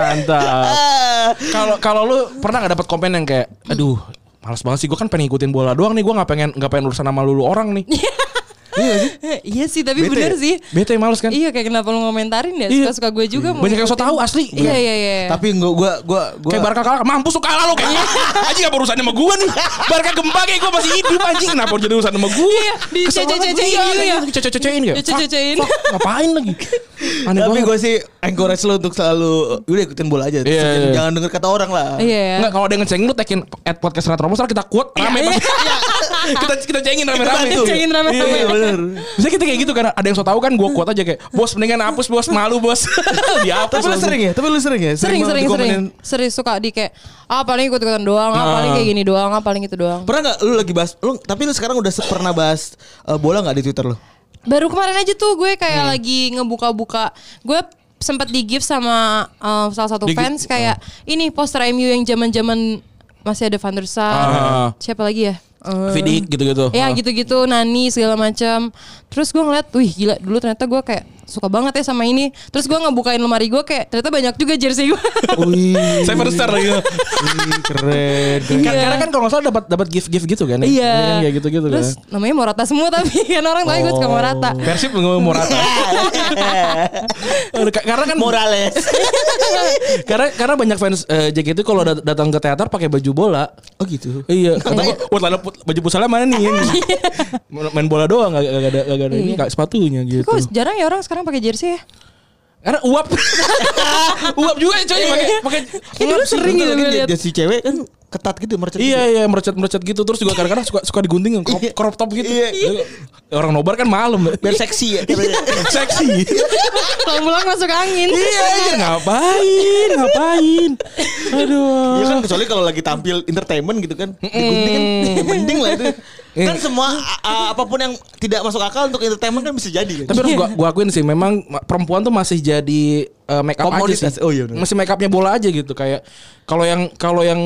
mantap Ah. kalau kalau lu pernah nggak dapat komen yang kayak aduh males banget sih gue kan pengen ngikutin bola doang nih gue nggak pengen nggak pengen urusan sama lulu orang nih iya sih tapi Bete bener ya? sih. bete males kan Iya kayak kenapa lu ngomentarin ya? Iya. Suka-suka gue juga mau banyak yang so ngikutin. tau asli Iya iya iya. Tapi gue gue gue gue. Kayak Barca kalah, mampus lu kalah lu kayak. Anjing apa urusannya sama gua nih? Barca gempa kayak gua masih hidup anjing. Kenapa jadi urusan sama gua? Iya, di Kesel banget cece-cecein gua. Iya, gitu ya. di Cece-cecein ya. Dicece-cecein. Fuck, fuck, Ngapain lagi? Aneh Tapi banget. gue sih encourage lo untuk selalu udah ikutin bola aja. Iya, Jangan- iya. Jangan denger kata orang lah. Iya. Enggak kalau ada yang ngecengin lu tekin at podcast Retrobus ntar kita quote Iya, rame pasti. kita kita cengin rame-rame. Kita cengin rame-rame. Iya, bener. Bisa kita kayak gitu kan ada yang so tau kan gua quote aja kayak bos mendingan hapus bos malu bos. Dihapus. Tapi lu langsung. sering ya? Tapi lu sering ya? sering banget sering sering dikomenin. sering suka di kayak ah paling ikut ikutan doang ah paling kayak gini doang ah paling itu doang Pernah gak lu lagi bahas lu tapi lu sekarang udah se- pernah bahas eh, bola gak di Twitter lu? baru kemarin aja tuh gue kayak lagi ngebuka-buka gue sempat di gift sama uh, salah satu Di-gift, fans kayak ini poster MU yang zaman-zaman masih ada Van der Sar Ah. siapa lagi ya Eh, Iya, Vidik gitu-gitu. Ya Ah. gitu-gitu Nani segala macam. Terus gue ngeliat, wih gila dulu ternyata gue kayak suka banget ya sama ini. Terus gue ngebukain lemari gue kayak ternyata banyak juga jersey gue. Wih, Saya baru start lagi. keren. keren. Kan- Karena kan kalau nggak salah dapat dapat gift-gift gitu kan. ya? Iya. Kan Kayak gitu-gitu kan. Oh. Gitu. Terus namanya Morata semua tapi kan orang tahu gue suka Morata. Persib ngomong Morata. Aduh, ka- karena kan Morales. karena karena banyak fans eh, JKT itu kalau dat- datang ke teater pakai baju bola. Oh gitu. Iya, katanya wah tanda put- baju pusalnya mana nih? Main- Main bola doang gak, gak ada gak ada ini Iya. gak sepatunya gitu. Kok jarang ya orang sekarang pakai jersey ya? Karena uap. uap juga ya coy pakai pakai Ya dulu sering gitu gue lihat. Jadi cewek kan ketat gitu mercon. Iya iya merecet-merecet gitu terus juga kadang-kadang suka suka digunting yang crop, Iya. crop top gitu. Orang nobar kan malam. Biar seksi ya. Seksi. Kalau pulang masuk angin. Iya, iya, ngapain? Ngapain? Aduh. Iya kan Oh. kecuali kalau lagi tampil entertainment gitu kan. Digunting kan mending lah itu. kan semua a- a- apapun yang tidak masuk akal untuk entertainment kan bisa jadi kan. Tapi harus gua, gua akuin sih memang ma- perempuan tuh masih jadi uh, make up aja Komoditas. sih. Oh, iya bener. Masih make upnya bola aja gitu kayak kalau yang kalau yang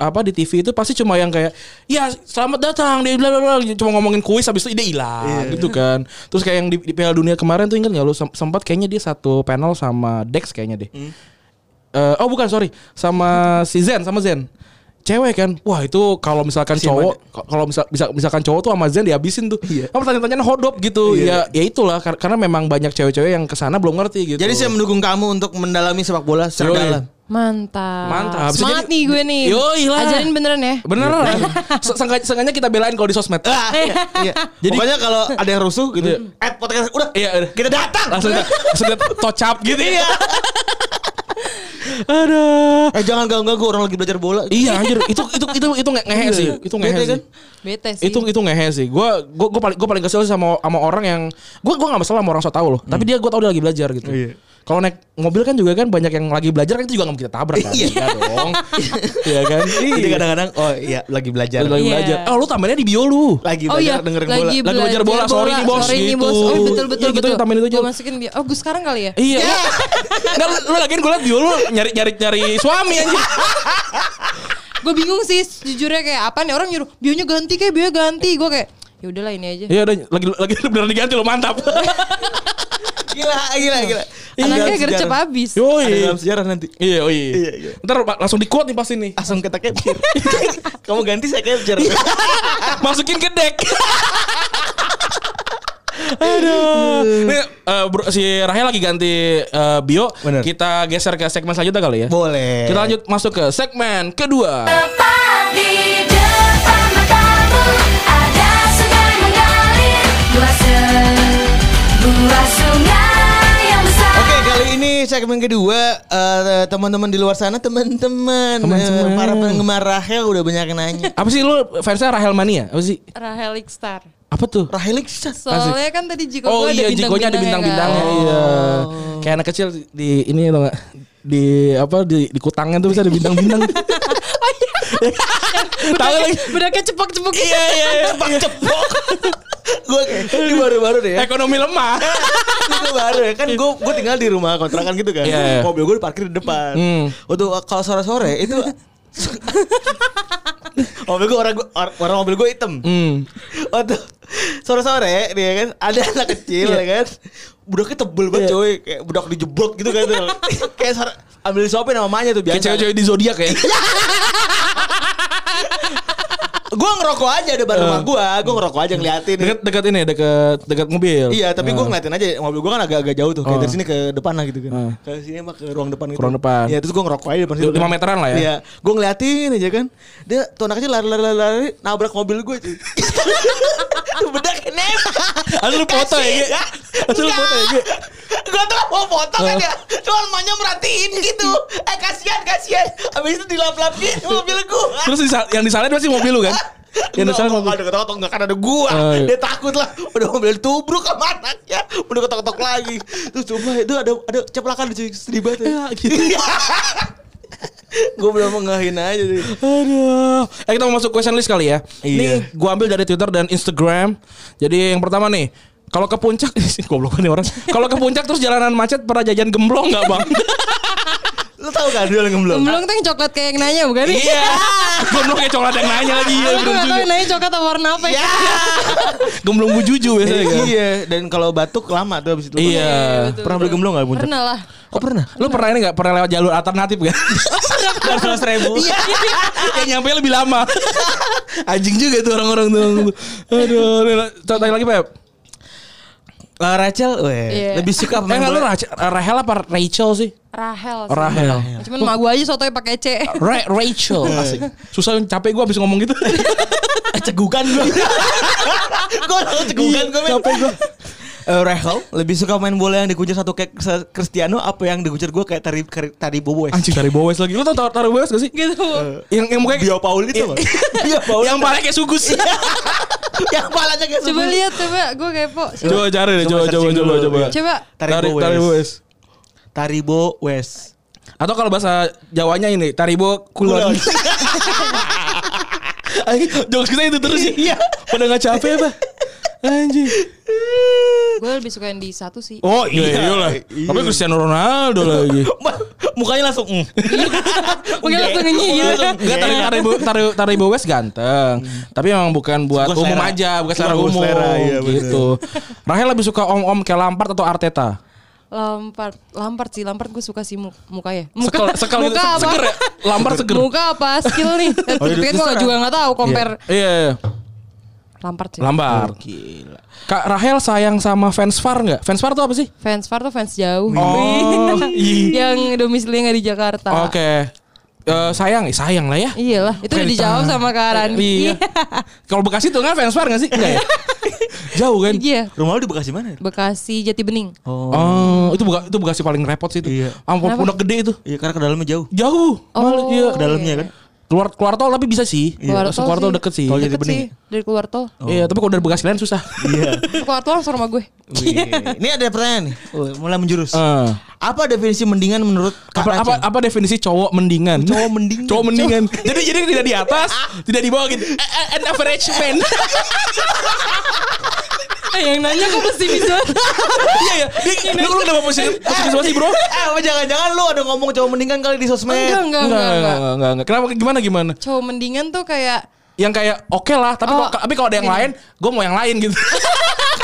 apa di TV itu pasti cuma yang kayak ya selamat datang di bla bla bla cuma ngomongin kuis habis itu ide hilang Iya. gitu kan. Terus kayak yang di, di Piala Dunia kemarin tuh ingat nggak lu Sem- sempat kayaknya dia satu panel sama Dex kayaknya deh. Hmm. Eh, oh bukan sorry sama si Zen sama Zen cewek kan wah itu kalau misalkan cowok kalau misal, bisa misalkan cowok tuh sama Zen dihabisin tuh Iya. apa tanya-tanya hodop gitu ya ya itulah kar- karena memang banyak cewek-cewek yang kesana belum ngerti gitu Jadi saya mendukung kamu untuk mendalami sepak bola secara Yoi. dalam. Mantap. Mantap. Bisa Semangat jadi- nih gue nih. Yoi lah. Ajarin beneran ya. bener lah sengaja kita belain kalau di sosmed Iya. Pokoknya kalau ada yang rusuh gitu, eh podcast udah iya udah. kita datang. Iya. langsung langsung tocap gitu ya aduh Eh jangan ganggu-ganggu orang lagi belajar bola. iya anjir itu itu itu itu nge- ngehe sih itu ngehe Bete sih kan? Bete sih. itu itu ngehe sih gue gue paling gue paling kesel sama sama orang yang gue gue nggak masalah sama orang so tau loh Hmm. tapi dia gue tau dia lagi belajar gitu Iya. kalau naik mobil kan juga kan banyak yang lagi belajar kan itu juga nggak mungkin kita tabrak kan iya dong iya kan Jadi iya kadang-kadang oh iya lagi belajar. Lu lagi Iya. belajar oh lu tambahnya di bio lu Lagi Oh iya, belajar dengerin bola. lagi, Lagi belajar bola, sorry nih, bos, nih, gitu. bos. Oh betul betul Iya, gitu, betul. tambahin itu aja. Gua masukin bi- Oh gue sekarang kali ya. Iya. Nggak, lu, lu lagian gue liat bio lu nyari nyari nyari suami aja. Gue bingung sih jujurnya kayak apa nih orang nyuruh bionya ganti kayak bio ganti. Gue kayak ya udahlah ini aja. Iya udah lagi lagi beneran diganti lu mantap. Iya, Iya. Gila, gila, gila. Anaknya gercep habis. Ada Yoi. dalam sejarah nanti. Iya, oh iya. Iya, iya. Ntar Pak, langsung di quote nih pasti nih. Langsung kita capture. Kamu ganti saya capture. Masukin ke deck. Aduh. Nih, eh, bro, si Rahel lagi ganti eh, bio. Bener. Kita geser ke segmen selanjutnya kali ya. Boleh. Kita lanjut masuk ke segmen kedua. Tepat di depan matamu ada sungai mengalir dua sebuah sungai yang besar. Oke, kali ini segmen kedua eh, teman-teman di luar sana, teman-teman Teman-teman. eh, para penggemar Rahel udah banyak yang nanya. Apa sih lu fansnya Rahel Mania? Apa sih? Rahel Star. Apa tuh? Rahel Iksan. Soalnya kan tadi jika Oh gua ya. kan. iya, jikonya ada bintang-bintangnya. Iya. Kayak anak kecil di ini tau gak? Di apa di, di kutangnya tuh bisa ada bintang-bintang. Tahu lagi. Bedaknya cepak-cepak gitu. Iya iya iya. Gue kayak ini baru-baru deh ya. Ekonomi lemah. Itu baru ya kan gue gue tinggal di rumah kontrakan gitu kan. Iya, iya. Mobil gue diparkir di depan. Hmm. Untuk kalau sore-sore itu mobil gue orang gua- or- orang mobil gue hitam. Hmm. Waktu sore-sore dia kan ada anak kecil ya kan. Budaknya tebel banget Iya. coy, kayak budak dijeblok gitu kan. kayak sore- ambil suapin sama mamanya tuh biasa. Kayak cewek-cewek di zodiak ya. Gue ngerokok aja depan rumah gue, gue ngerokok aja ngeliatin. Dekat dekat ini dekat dekat mobil. Ah. Iya, tapi gue ngeliatin aja mobil gue kan agak-agak jauh tuh, Oh. kayak dari sini ke depan lah gitu kan. Ah. Ke sini mah ke ruang depan gitu. Ruang depan. Iya, terus gue ngerokok aja depan situ. Lima kan. meteran lah ya? Iya, gue ngeliatin aja kan. Dia tuh anak kecil lari-lari-lari nabrak mobil gue. cuy. Tuh Bedak nempel. Asal lu foto ya, Ge? Asal lu foto ya, Ge? Oh. Gue tuh mau foto kan ya. Cuman maunya merhatiin gitu. Eh kasihan, kasihan. Abis itu dilap-lap gitu mobil gue. Terus disa- yang disalahin pasti mobil lu kan? Yang Enggak, disalahin mau mobil. ada ketok-ketok enggak kan ada gua. Oh, iya. Dia takut lah. Udah mobil tubruk sama anaknya. Udah ketok-ketok lagi. Terus coba itu ada ada ceplakan di situ. sedih banget. Ya. Gitu. gua belum mengahin aja sih. Aduh. Eh kita mau masuk question list kali ya. Iya. Ini gua ambil dari Twitter dan Instagram. Jadi yang pertama nih, kalau ke puncak, goblok nih orang. Kalau ke puncak terus jalanan macet pernah jajan gemblong nggak bang? Lu tahu kan, gak duel ngemblong? Gemblong tuh yang coklat kayak yang nanya bukan? Iya. Gemblong kayak coklat yang nanya lagi ya. Aku gak Belum tau yang juga. Iya. nanya coklat apa warna apa ya. Gemblong bujuju biasanya kan. Iya, dan kalau batuk lama tuh abis itu. Iya. Pernah ya, beli gemblong gak puncak? Pernah lah. Oh pernah. Lu pernah ini gak? Pernah lewat jalur alternatif gak? Dua ratus ribu. Kayak nyampe lebih lama. Anjing juga tuh orang-orang tuh. Aduh. Lila. Tanya lagi Pep. Lah Eh, Rachel, weh, Iya. lebih suka Eh pemain enggak lu bola. Rachel, Rahel apa Rachel sih? Rahel. sih. Rahel. Cuman mak gue aja sotoy pakai C. Ra- Rachel. Asik. Susah capek gue abis ngomong gitu. cegukan gue. gue cegukan gue. Capek gue. Rahel Eh, lebih suka main bola yang dikucir satu kayak se- Cristiano apa yang dikucir gue kayak tari Kari- tari Bobo eh. Wes. Anjing dari Bowes lagi. Lu tau tar- Tari Bowes gak sih? Iya. gitu. Yang yang mukanya Bio Paul itu Bang. Bio Paul. yang parah kayak sugus. Iya. yang palanya kayak Coba sebelum- lihat coba gue kepo. Coba. Coba cari deh, Coba coba coba searching coba dulu. coba. Coba. Tari Tari Bowo Tari Wes. Bowes. Taribo Wes. Atau kalau bahasa Jawanya ini Taribo kulon. Kulon. Anjing, Jokes kita itu terus ya. Pada nggak capek apa? Anjing. Gue lebih suka yang di satu sih. Oh iya, iya lah. Tapi Cristiano Ronaldo lagi. Mukanya langsung mm. Mungkin iya. langsung ngenyih gitu. Enggak tari tari tari tari Bowes ganteng. Tapi memang Hmm. bukan buat Bukan umum selera. aja, bukan selera Bukan umum. selera, iya, bener. gitu. Rahel lebih suka om-om kayak Lampard atau Arteta? Lampard, Lampard sih, Lampard gue suka sih mu- mukanya. Sekal sekal muka gitu. apa? Seger ya? Lampard seger. Muka apa skill nih? Tapi Oh, iya, kan gue terserah. juga nggak tahu compare Iya, iya, iya. Lampard sih. Lampard. Gila. Kak Rahel sayang sama fans VAR nggak? Fans VAR tuh apa sih? Fans far tuh fans jauh. Oh, iya. yang domisili nggak di Jakarta. Iya. Oke. Eh, sayang, eh, sayang lah ya. Iyalah, itu udah Fans- dijawab sama Kak Randi. Iya. Kalau Bekasi tuh kan fans VAR nggak sih? Enggak ya? Jauh kan? Iya. Rumah lu di Bekasi mana? Bekasi Jati Bening. Oh, itu buka itu bekasi paling repot sih itu. Iya. Ampun pondok gede itu. Iya karena ke dalamnya jauh. Jauh. Oh. Mal- iya. Ke dalamnya kan. Keluar keluar tol tapi bisa sih. Iya. Iya, Keluar tol keluar tol sih. deket sih. Tol Jati Deket Bening sih dari keluar tol. Iya, tapi kalau dari Bekasi lain susah. Oh. Iya. Keluar tol langsung rumah gue. Wih, Ini ada pertanyaan nih. Oh, Mulai menjurus. Eh. Apa definisi mendingan menurut Kak Apa, apa, apa definisi cowok mendingan? Cowok mendingan. Cowok mendingan. jadi jadi tidak di atas, tidak di bawah gitu. A- a- An Iya, average man. Eh, yang nanya kok mesti bisa. Iya ya. Dia- Lu lu kenapa posisi posisi posisi, bro? Eh, apa jangan-jangan lu ada ngomong cowok mendingan kali di sosmed. enggak, enggak, enggak, enggak. enggak, enggak. Kenapa gimana gimana? Cowok mendingan tuh kayak Yang kayak oke lah, tapi Oh, kalau tapi kalau ada yang gini. lain, gue mau yang lain gitu.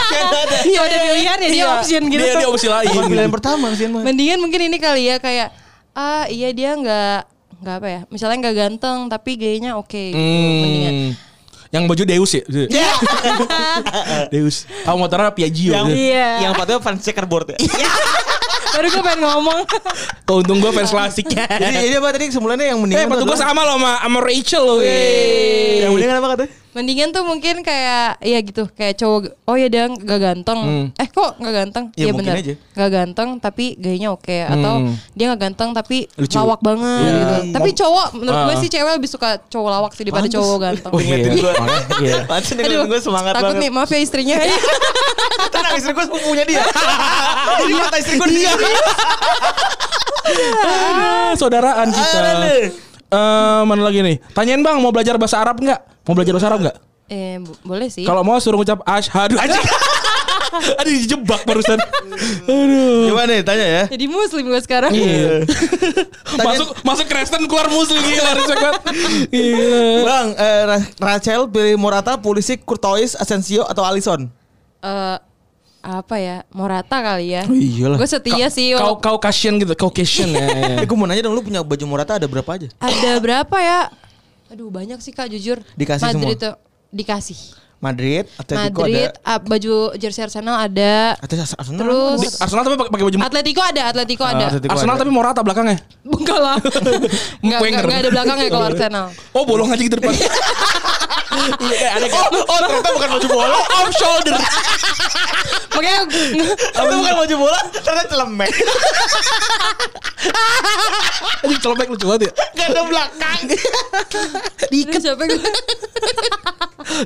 Iya ada pilihan ya dia Iya. option gitu. Dia dia opsi lain. Bukan pilihan pertama sih mah. Mendingan mungkin ini kali ya kayak ah iya dia nggak nggak apa ya misalnya nggak ganteng tapi gayanya oke gitu mendingan. Hmm. Yang baju Deus ya? Deus. Aku motornya Piaggio. Yang gitu. Iya. yang patutnya fans checkerboard ya. Baru gue pengen ngomong. Keuntung gue fans plastik ya. Jadi ini apa iya, tadi semulanya yang Eh, mendingan. sepatu gue sama loh sama, sama Rachel loh. Yang Yang mendingan apa katanya? mendingan tuh mungkin kayak ya gitu kayak cowok oh ya dia nggak ganteng. Eh kok nggak ganteng? Hmm. Ya, Iya mungkin benar. aja. Hmm. Nggak ganteng tapi gayanya oke atau dia nggak ganteng tapi Lucu. lawak banget Iya. gitu. Tapi cowok menurut gue Ah. sih cewek lebih suka cowok lawak sih daripada Pantes. cowok ganteng. Oh, iya. Ngeliatin gue. Makanya, iya. Pantes nih ngeliatin gue semangat takut nih banget. maaf ya istrinya. Tenang istri gue sepupunya dia. Jadi mata istri gue dia. Ah, saudaraan kita. Ah, deh. Eh, mana lagi nih? Tanyain bang, mau belajar bahasa Arab nggak? Mau belajar bahasa Arab nggak? eh bo- boleh sih. Kalau mau suruh ngucap asyhadu aja. Aduh dijebak barusan. Aduh. Gimana nih tanya ya? Jadi muslim gue sekarang. Iya. Iya. masuk masuk Kristen keluar Muslim Iya, kan. gila respect banget. Gila. Bang, eh, Ra- Rachel pilih Morata, Pulisic, Courtois, Asensio atau Alisson? eh apa ya Morata kali ya Oh, iyalah. gue setia sih Kau walaupun- kau kasian gitu, kau kasian ya. ya. Eh, gue mau nanya dong, lu punya baju Morata ada berapa aja? ada berapa ya aduh banyak sih kak jujur Dikasih Madrid semua? tuh dikasih Madrid, Atletico Madrid ada. ah, baju jersey Arsenal ada Atletico Arsenal. Terus- Di- Arsenal tapi pakai pakai baju Atletico ada Atletico ada Ah, Atletico. Arsenal ada. tapi Morata belakangnya. enggak lah enggak Wenger. enggak- enggak ada belakangnya kalau Arsenal Oh, bolong aja gitu depan. Iya, ada kayak Oh, ternyata bukan baju bola. off shoulder. makanya Ternyata bukan baju bola, ternyata celemek. Ini celobek lucu banget ya. Gak ada belakang. diikat siapa yang-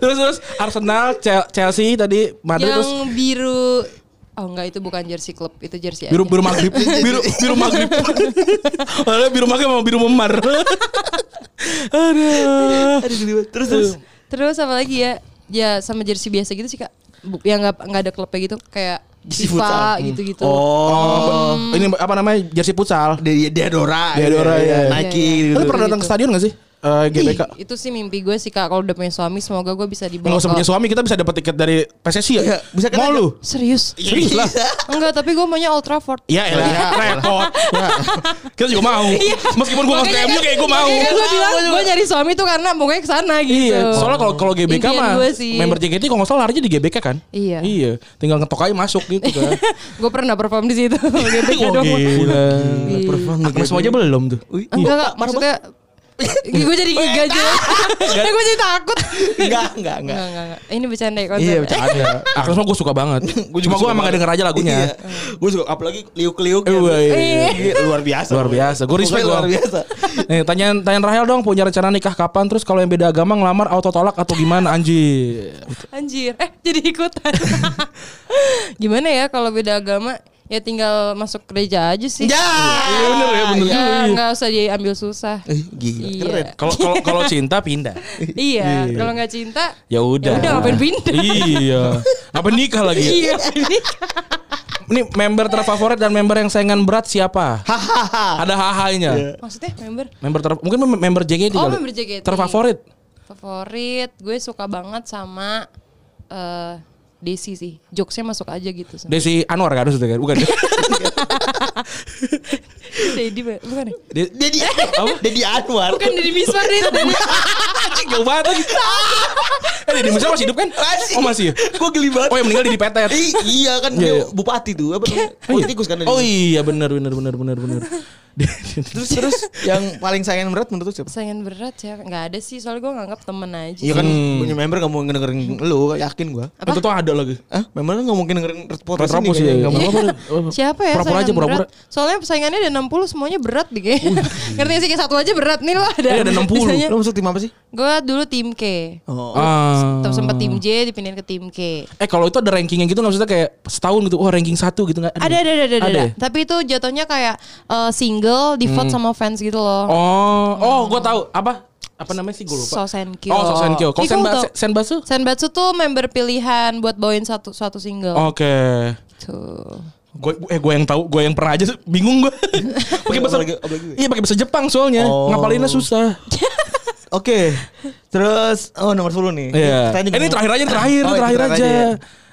Terus terus Arsenal, Chel- Chelsea tadi Madrid yang terus biru oh enggak itu bukan jersey klub itu jersey biru aja. biru maghrib biru biru maghrib Padahal biru maghrib sama biru memar aduh Aduh, geli banget. Terus terus. ya terus apa lagi ya ya sama jersey biasa gitu sih kak Bu- yang enggak enggak ada klubnya gitu kayak Jersey futsal. Hmm. FIFA gitu-gitu. Oh, Ini apa namanya? Jersey futsal. dia Deodora, Deodora, iya, Hmm. iya. Nike Iya, gitu. Lu pernah datang ke stadion gak sih? Eh, GBK. Itu sih mimpi gue sih kak kalau udah punya suami semoga gue bisa dibawa. Enggak usah ke- punya suami, kita bisa dapat tiket dari PSSI ya. Iya, bisa kita- Mau lu? Serius? Iya. Serius lah. Enggak, tapi gue maunya Old Trafford. Ya elah, repot. Ya. Kita juga mau. Meskipun gua enggak ke MU kayak gua gitu. mau. gue bilang gue nyari suami tuh karena pokoknya ke sana gitu. Iya, soalnya kalau kalau GBK Impian mah gua sih. member JKT kalau nggak salah larinya di GBK kan? Iya. Iya, tinggal ngetok aja masuk gitu kan. gue Eh, pernah perform di situ. Gitu dong. Iya, gila. Agnes mau aja belum tuh. Enggak, Kak, maksudnya Iya. gue jadi gak jelas. Eh, gue jadi takut. Enggak, enggak, enggak. Enggak, enggak, enggak. Ini bercanda ya konten. Iya, ya? bercanda. Ada. Agnes mah gue suka banget. Cuma gue emang gak denger aja lagunya. Iya. Gue suka apalagi liuk-liuk. Eh, iya, iya, iya. Iya, luar biasa. Luar biasa. Gue respect Pokoknya gua. luar biasa. Nih, tanyaan tanyaan Rahel dong punya rencana nikah kapan? Terus kalau yang beda agama ngelamar auto tolak atau gimana anjir? Anjir, eh jadi ikutan. Gimana ya kalau beda agama? Ya tinggal masuk gereja aja sih. Ya, Iya bener ya bener. ya nggak usah diambil susah. Eh, gila. Iya. Keren. Kalau kalau kalau cinta pindah. Iya, kalau nggak cinta, Ya udah. Yaudah, ngapain pindah? Iya. Apa nikah lagi? iya. Ini member terfavorit dan member yang saingan berat siapa? Ada hahainya. Maksudnya member Member ter mungkin mem- member JKT Oh, kali. member JKT. Terfavorit. favorit gue suka banget sama eh Desi sih. Jokesnya masuk aja gitu. sama. Desi Anwar kan harus kan? Bukan. Dedi bukan ya? Desi Dedi Dedi Anwar. Bukan Dedi Miswar deh. Dedi. jauh banget lagi. Eh Deddy Miswar masih hidup kan? Oh masih. ya? Gue geli banget. Oh yang meninggal di Petet. Ih, iya kan Iya, dia iya. bupati tuh apa namanya? Politikus kan. dia. Oh iya benar benar benar benar benar. Terus terus yang paling sayang berat menurut lu siapa? Saingan berat ya. Nggak ada sih, soalnya gue nganggap temen aja. Iya kan punya member gak mau ngedengerin lu, yakin gua. Apa? Tentu ada lagi. Hah? Member gak mungkin dengerin Red Podcast Red Podcast, iya, ini iya. kayaknya. Nggak mau. Siapa ya Pura-pura saingan aja, pura-pura. berat? Soalnya saingannya ada 60 semuanya berat deh kayaknya. Ngerti sih kayak satu aja berat nih lo ada. Iya, ada 60. Lu masuk tim apa sih? Gue dulu tim K. Oh. Ah. Terus sempat tim J dipindahin ke tim K. Eh kalau itu ada rankingnya gitu nggak maksudnya kayak setahun gitu. Wah ranking satu gitu nggak? Ada ada ada ada, ada. Ada ya? Hmm. Tapi itu jatuhnya kayak eh, single di vote sama fans gitu loh. Oh oh gue tahu apa apa namanya sih gue lupa. Sosenkyo. Oh Sosenkyo. Kalau Ih, kamu Senba- tahu? Senbatsu? Senbatsu tuh member pilihan buat bawain satu suatu single. Gitu. Oke. Tuh. Gue eh gue yang tahu, gue yang pernah aja bingung gue. pakai bahasa Apalagi- apalagi gue. Iya pakai bahasa Jepang soalnya. Oh. Ngapalinnya susah. Oke. Terus oh nomor 10 nih. Iya. Kita Eh, ini ngomong- terakhir aja, terakhir, Oh, ini terakhir aja.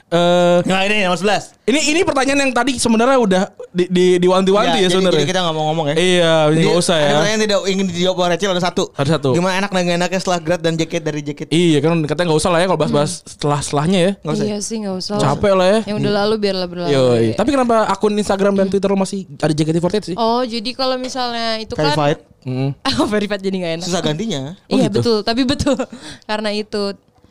Eh Nah, ini nomor 11. ini ini pertanyaan yang tadi sebenarnya udah di di Iya, diwanti-wanti ya, jadi- sebenarnya. jadi kita nggak mau ngomong ya. Iya, Jadi, nggak usah ya. Ada pertanyaan yang tidak ingin dijawab oleh Rachel ada satu. Ada satu. Gimana enak dan nggak enaknya setelah grad dan jaket dari jaket? Iya kan katanya nggak usah lah ya kalau Hmm. bahas-bahas setelah setelahnya ya. Nggak usah. Iya sih nggak usah. Capek lah ya. Yang udah lalu biarlah berlalu. Yoi. Tapi kenapa akun Instagram dan Twitter lo masih ada JKT48 sih? Oh jadi kalau misalnya itu kan Verified. Mm. Oh, verified jadi gak enak. Susah gantinya. Oh, iya gitu. betul, tapi betul karena itu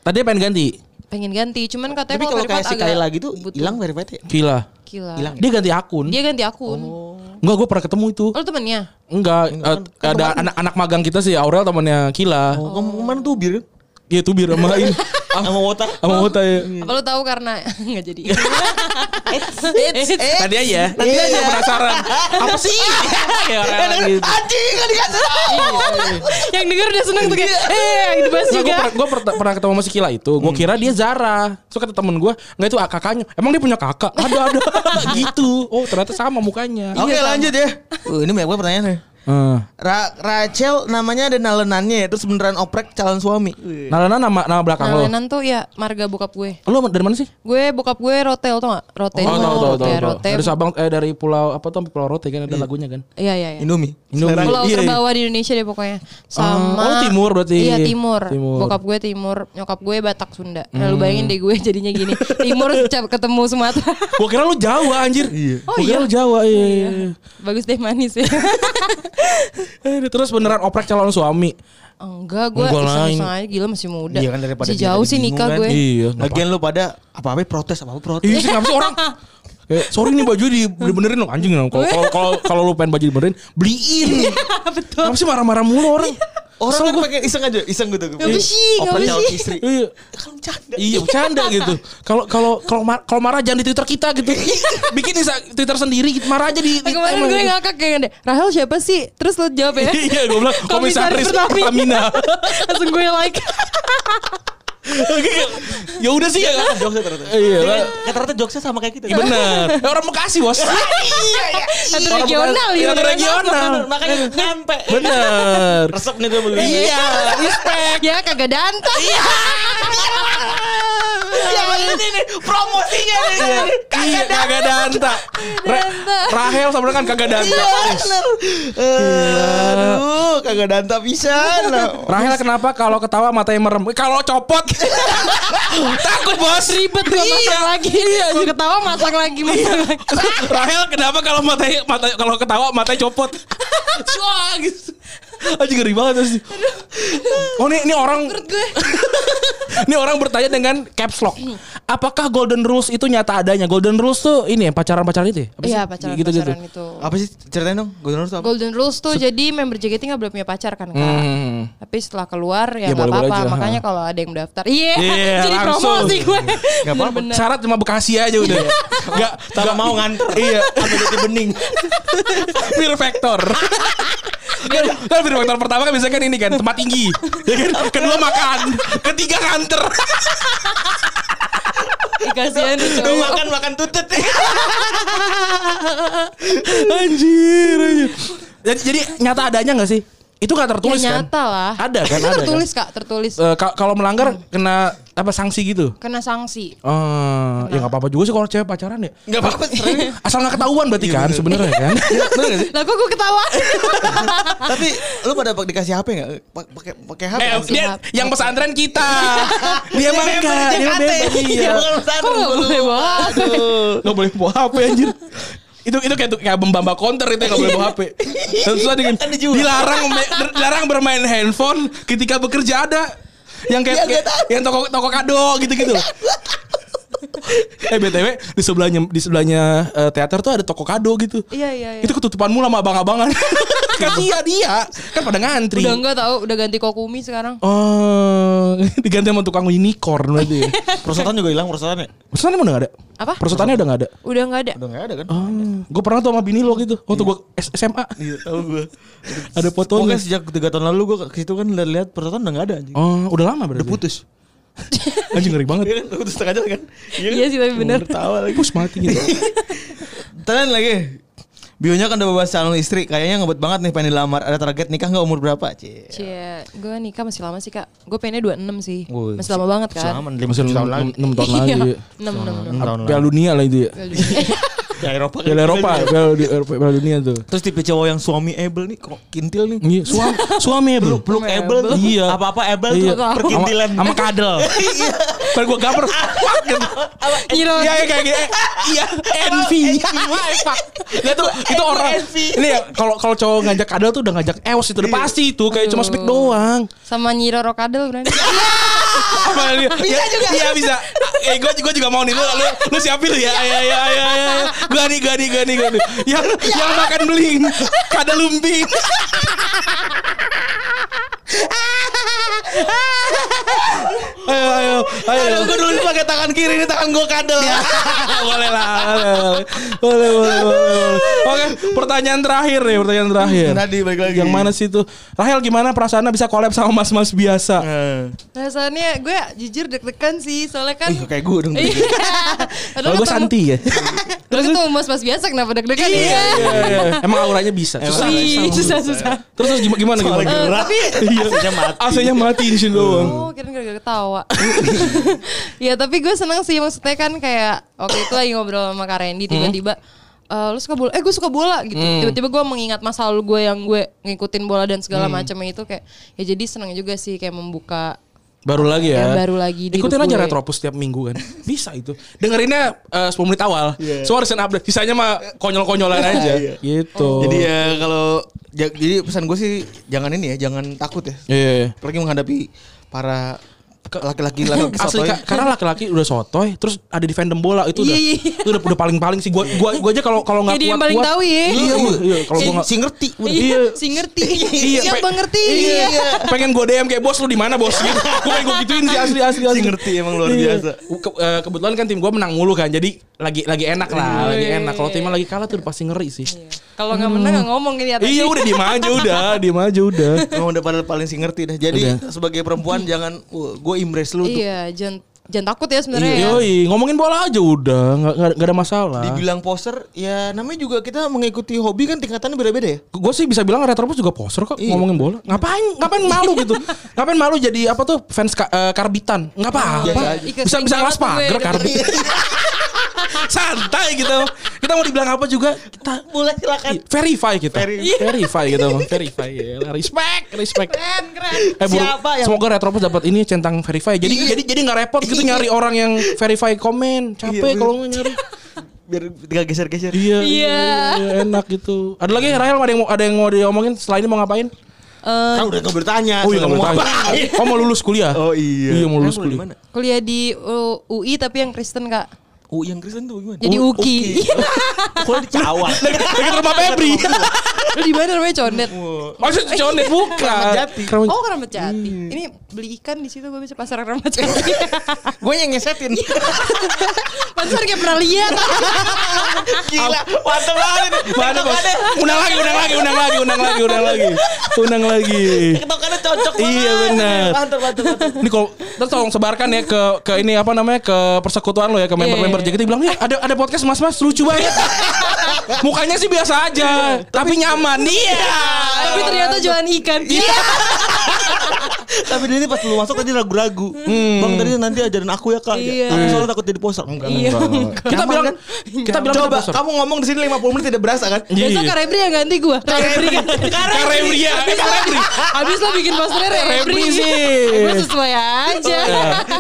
Tadi dia pengen ganti. pengen ganti. Cuman katanya Tapi kalau kayak si Kayla lagi gitu hilang verified ya? Gila. Gila. Hilang. Dia ganti akun. Dia ganti akun. Enggak, gue pernah ketemu itu. Oh, lu temennya? Enggak, eh, ada anak-anak magang kita sih Aurel temannya Kila. Oh, kamu kemana tuh bir? Iya tuh biar sama ini. Sama Wota. Sama Wota ya. Apa lu tahu karena nggak jadi. Eh, Tadi aja, ya. tadi Iya. aja penasaran. Apa sih? ya, Aurel gitu. Iya, Anjing nggak dikasih. yang denger udah seneng tuh kayak eh yang dibahas Gue juga. pernah, ketemu sama si Kila itu Gue kira dia Zara Terus kata temen gue Enggak itu kakaknya Emang dia punya kakak? Ada ada Gitu Oh ternyata sama mukanya Oke lanjut ya. Uh, ini banyak banget pertanyaannya. Eh. Ra Rachel namanya ada nalenannya ya terus beneran oprek calon suami. Nalana nama nama belakang lo. Nalenan tuh ya marga bokap gue. Lo dari mana sih? Gue bokap gue rotel tau gak? Rote Oh, juga. tahu tahu tahu. Kayak tahu. rote. Dari Sabang eh dari pulau apa tuh sampai pulau Rote kan ada lagunya kan. Iya iya iya. Indomie. Indomie. Pulau Iya, iya. terbawa di Indonesia deh pokoknya. Sama oh, timur berarti. Iya, timur. Timur. Hmm. Bokap gue timur, nyokap gue Batak Sunda. Lalu bayangin deh gue jadinya gini. Timur cap- ketemu Sumatera. Gua kira lu Jawa anjir. Iya. Oh, Gua kira iya. lu Jawa. Iya. iya. Bagus deh manis ya. iya. Eh, Terus beneran oprek calon suami. Enggak, gue Enggak lain. iseng-iseng aja gila masih muda. Iya kan daripada masih dia jauh jadi sih nikah bingung kan. gue. Iya. Lagi Lagian lu pada apa-apa protes apa-apa protes. Iya sih kenapa sih orang Eh, sorry nih baju di dibenerin dong anjing dong. Kalau kalau- kalau kalau lu pengen baju dibenerin, beliin. Iya, Betul. Kenapa sih marah-marah mulu orang? Orang kan pengen iseng aja, iseng gitu. Nggak bersih, nggak Oprek calon bersih. istri. Iya. Kalau bercanda. Iya bercanda gitu. Kalau kalau kalau mar- kalau marah jangan di Twitter kita gitu. Bikin Insta- Twitter sendiri gitu. Iya, Marah aja di Iya. Nah, kemarin gue ngakak kayak deh. Rahel siapa sih? Terus lo jawab ya. Iya gue bilang komisaris Pertamina. Langsung gue like. ya udah sih ya. Jokesnya ternyata. Iya, Dia lah. kan- ternyata jokesnya sama kayak kita. Iya, Bener. Eh, orang Bekasi bos. Iya, Satu regional ya. Satu regional. Makanya nyampe. Bener. Resep nih gue begini. Iya, respect. Ya kagak dantas. Iya. ini nih promosinya nih. Iya, kagak danta. Iya. Ra- Rahel sama dengan kagak danta. Bener. Eh, Aduh, kagak danta pisan. Rahel kenapa kalau ketawa matanya merem? Eh, Kalau copot takut bos ribet Iya. Masang lagi. Kalau ketawa masang lagi, masang lagi. Rahel kenapa kalau matanya mata kalau ketawa matanya copot? Cua gitu. Aja ngeri banget sih. Oh ini ini orang ini orang bertanya dengan caps lock. Apakah golden rules itu nyata adanya? Golden rules tuh ini ya pacaran-pacaran itu ya? Apa sih? Iya gitu. pacaran-pacaran itu. Apa sih ceritain dong? Golden Rose apa? Golden Rules tuh jadi member JKT nggak boleh punya pacar kan kak. Hmm. Tapi setelah keluar ya nggak Ya, boleh-boleh apa-apa. aja. Makanya kalau ada yang daftar, iya Iya, jadi langsung. promosi gue. Gak apa-apa. Syarat cuma Bekasi aja udah. ya. Enggak Kalau mau nganter. Iya. Sampai jadi bening. Fear factor. kan, kan fear factor pertama kan biasanya kan ini kan tempat tinggi. Ya kan? Kedua makan, ketiga kantor. Kasihan tuh Lu cowok. Ya, makan makan tutut. anjir, anjir. Jadi, jadi nyata adanya nggak sih? Itu nggak tertulis Ya, kan? nyata lah. Ada kan? Itu Ada tertulis Kan? kak, tertulis. Eh, ka- kalau melanggar kena apa sanksi gitu? Kena sanksi. Eh, ya nggak apa-apa juga sih kalau cewek pacaran ya. Enggak apa-apa. serius. Asal nggak ketahuan berarti kan sebenarnya kan? Bener nggak sih? Lah kok gue ketawa? Tapi lu pada dikasih HP enggak? Pakai pakai eh, HP. nggak sih? dia yang pesantren kita. dia mah Dia enggak, dia member member, JKT. iya. Dia bukan pesantren. Kok nggak boleh banget? Gak boleh bawa HP anjir itu itu kayak kayak bamba counter itu nggak boleh bawa HP. Terus ada yang Ada juga. dilarang me- dilarang bermain handphone ketika bekerja ada yang kayak Iya, gua tahu. yang toko toko kado gitu-gitu. eh btw di sebelahnya di sebelahnya eh, teater tuh ada toko kado gitu. Iya, iya, iya. Itu ketutupan mulu sama abang-abangan. Kasihan dia kan pada ngantri. Udah enggak tahu, udah ganti kokumi sekarang. Oh, diganti sama tukang unicorn berarti. ya. Perusahaan ya? juga hilang perusahaannya. Perusahaannya emang udah gak ada? Apa? Perusahaannya udah gak ada? Udah enggak ada. Udah enggak ada kan? Gue pernah tuh sama bini lo gitu Waktu gue SMA Iya, tahu gue. Ada fotonya Pokoknya sejak 3 tahun lalu gue ke situ kan lihat-lihat perusahaan udah enggak ada anjing. Oh udah lama berarti Udah putus. Anjing ngeri banget Iya kan, udah putus setengah jalan kan? Iya sih, tapi bener. Tawa lagi. Iya. Pus mati gitu Telen lagi. Bionya kan udah bahas calon istri, kayaknya ngebet banget nih pengen dilamar. Ada target nikah nggak umur berapa? Cie. Cie, gue nikah masih lama sih kak. Gue pengennya 26 sih. Woi, Masih lama banget kan. Masih 5 tahun lagi. 6 tahun Iya, lagi 6 6 tahun Piala dunia lah itu ya Di Eropa. kan. Piala Eropa Piala di- Eropa- Piala dunia tuh Terus tipe cowok yang suami able nih, kok kintil nih. Iya suami Suami ya bro Peluk able. Iya. Apa-apa able Iya. tuh perkintilan. Sama kadel Padahal gue gaper Fuck gitu. 6. Nyiro. Iya iya, kayak gini. Iya envy Wah, fuck. Nah, itu itu orang Ini ya kalau kalau cowok ngajak kadel tuh udah ngajak eos itu udah pasti itu kayak cuma speak doang Sama Nyiro Rokadel berani. apa ini? Bisa juga. Iya bisa. Eh gue juga juga mau nih lu lu, lu siapin Iya. lu ya. Ya ya ya ya. Gue nih gue nih gue nih gue nih. Yang Ya. yang makan beling. Kada lumpi. ayo ayo ayo. Ya, Aduh, gue dulu pakai tangan kiri ini tangan gue kadel. boleh lah. Boleh boleh boleh. boleh, boleh. Oke, pertanyaan terakhir nih, pertanyaan terakhir. Tadi balik lagi. Yang mana sih itu? Rahel gimana perasaannya bisa collab sama mas-mas biasa? Eh, Rasanya gue Nah, jujur deg-degan sih, soalnya kan. Ih, kayak gue dong. Iya. Padahal Kalau gue ketemu- Santi ya. Terus ketemu mas mas biasa kenapa deg-degan ya? Iya, Emang auranya bisa. Susah. Wih, susah susah. Terus terus gimana gimana? Soalnya gimana? gerak. Aslinya mati. AC-nya matiin sih doang. Oh, kira gara-gara ketawa. ya, tapi gue seneng sih maksudnya kan kayak waktu itu lagi ngobrol sama Kak Hmm. Randy tiba-tiba eh, lu suka bola? Eh, gue suka bola gitu. Tiba-tiba gue mengingat masa lalu gue yang gue ngikutin bola dan Hmm. segala macamnya itu kayak ya jadi seneng juga sih kayak membuka Baru lagi ya. Yang Iya, baru lagi di Ikutin hidup aja gue. Retropus setiap minggu kan. Bisa itu. Dengerinnya eh, 10 menit awal. Semua recent update. Sisanya mah konyol-konyolan aja. Iya. Gitu. Jadi ya kalau ja- jadi pesan gue sih jangan ini ya, jangan takut ya. Iya. Apalagi menghadapi para laki-laki laki Asli Kak, karena lagi-laki udah sotoy, terus ada di fandom bola itu udah Iya, iya. itu udah, udah paling-paling sih gua gua gua aja kalau kalau nggak Jadi yang paling kuat-kuat. tahu ya. Iya, iya, iya. kalau gua nggak si ngerti. Iya, sih ngerti. Iya, Siapa pe- ngerti? Iya. Pengen gue DM kayak bos lu di mana bos gitu. Gue pengen gue gituin sih asli asli asli. Si ngerti emang Iya. luar biasa. Ke- eh, Iya, kebetulan kan tim gue menang mulu kan. Jadi lagi lagi enak lah, lagi enak. Kalau timnya lagi kalah tuh udah pasti ngeri sih. Kalau nggak menang nggak ngomong ini atas Iya ini. udah diem aja udah, diem aja udah. Emang udah pada paling sih ngerti dah. Jadi Udah. sebagai perempuan jangan gue embrace lu tuh. Iya, jangan jangan takut ya sebenarnya. ya. Yoi, ngomongin bola aja udah, nggak nggak- nggak ada masalah. Dibilang poser, ya namanya juga kita mengikuti hobi kan tingkatannya beda-beda ya. Gue sih bisa bilang Retropus juga poser kok Iya. ngomongin bola. Ngapain ngapain malu gitu? ngapain malu jadi apa tuh fans ka- eh, karbitan? Iya, Enggak Biasa apa-apa. aja. Ih, Bisa kesering bisa banget ngelas tuh gue pagar denger. karbit. Santai gitu. Kita mau dibilang apa juga kita Boleh silakan. Iya, Iya. verify kita. Verify. Verify gitu, Bang. Verify. ya. Respect, respect. Keren, keren. Eh, Bu, Siapa yang- Iya. semoga Retropus dapat ini centang verify. Jadi jadi jadi nggak repot gitu nyari orang yang verify komen. Capek Iya, kalau nggak nyari. Biar tinggal geser-geser. Iya, Iya. iya, enak gitu. Ada lagi Rahel ada yang mau ada yang mau diomongin selain ini mau ngapain? Eh, Kan udah kau bertanya. Oh iya, soalnya kamu mau tanya. ngapain? Oh mau lulus kuliah? Oh iya. Iya mau lulus Emang lu kuliah. di mana? kuliah di uh, UI tapi yang Kristen Kak. Oh yang Kristen tuh gimana? Jadi Oh, Uki. Kuliah di Cawang. Dekat rumah Febri. Lu di mana namanya Condet? Maksud Jonet bukan. Jati. Keramat- Oh Keramat Jati. Iya. Ini beli ikan di situ gue bisa pasar Keramat Jati. Gue yang ngesetin. pasar kayak pernah lihat. Gila, mantep banget. Mana bos? Undang lagi, undang lagi, undang lagi, undang lagi, undang lagi, undang lagi. Ketokannya cocok banget. Iya benar. Mantap, mantap, mantap. Ini kalau terus tolong sebarkan ya ke ke ini apa namanya ke persekutuan lo ya ke member-member Iya, iya. JKT bilang ya ada ada podcast mas-mas lucu banget. Mukanya sih biasa aja, tapi nyaman. Iya. tapi ternyata jualan ikan. Iya. Tapi dia ini pas lu masuk tadi ragu-ragu. Hmm. Bang tadi nanti ajarin aku ya kak. Iya. Aku soalnya takut jadi poser. Enggak. kan? Iya. Kita bilang kita bilang Coba sponsor. kamu ngomong di sini 50 menit tidak berasa kan? Besok Iya. Kak Rebri yang ganti gue. Kak Rebri ganti. Kak Rebri ya, eh, Kak Rebri. Abis lo bikin posternya Rebri Rebri. sih. Gue sesuai aja. Iya.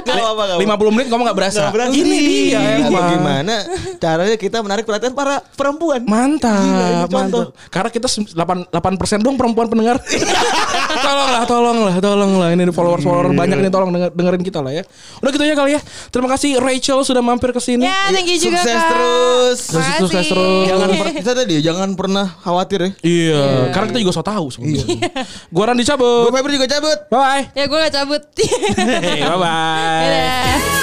Gak apa-apa. gak apa-apa. 50 menit kamu gak berasa. Nggak berasa. Ini dia Ya, emang. Gimana caranya kita menarik perhatian para perempuan? Mantap, Gila, ini contoh. mantap. Karena kita 8 8% dong perempuan pendengar. tolonglah, tolonglah, tolonglah. Ini followers follower banyak nih tolong denger- dengerin kita lah ya. Udah gitu aja kali ya. Terima kasih Rachel sudah mampir ke sini. Ya, thank you juga Sukses Kak. terus. Makasih. Sukses terus. Jangan per, kita tadi ya, jangan pernah khawatir ya. Iya, karena kita juga so tahu sebenarnya. Gua Randi Gue cabut. Febri juga cabut. Bye bye. Ya gue gak cabut. Hey, bye bye. Dadah.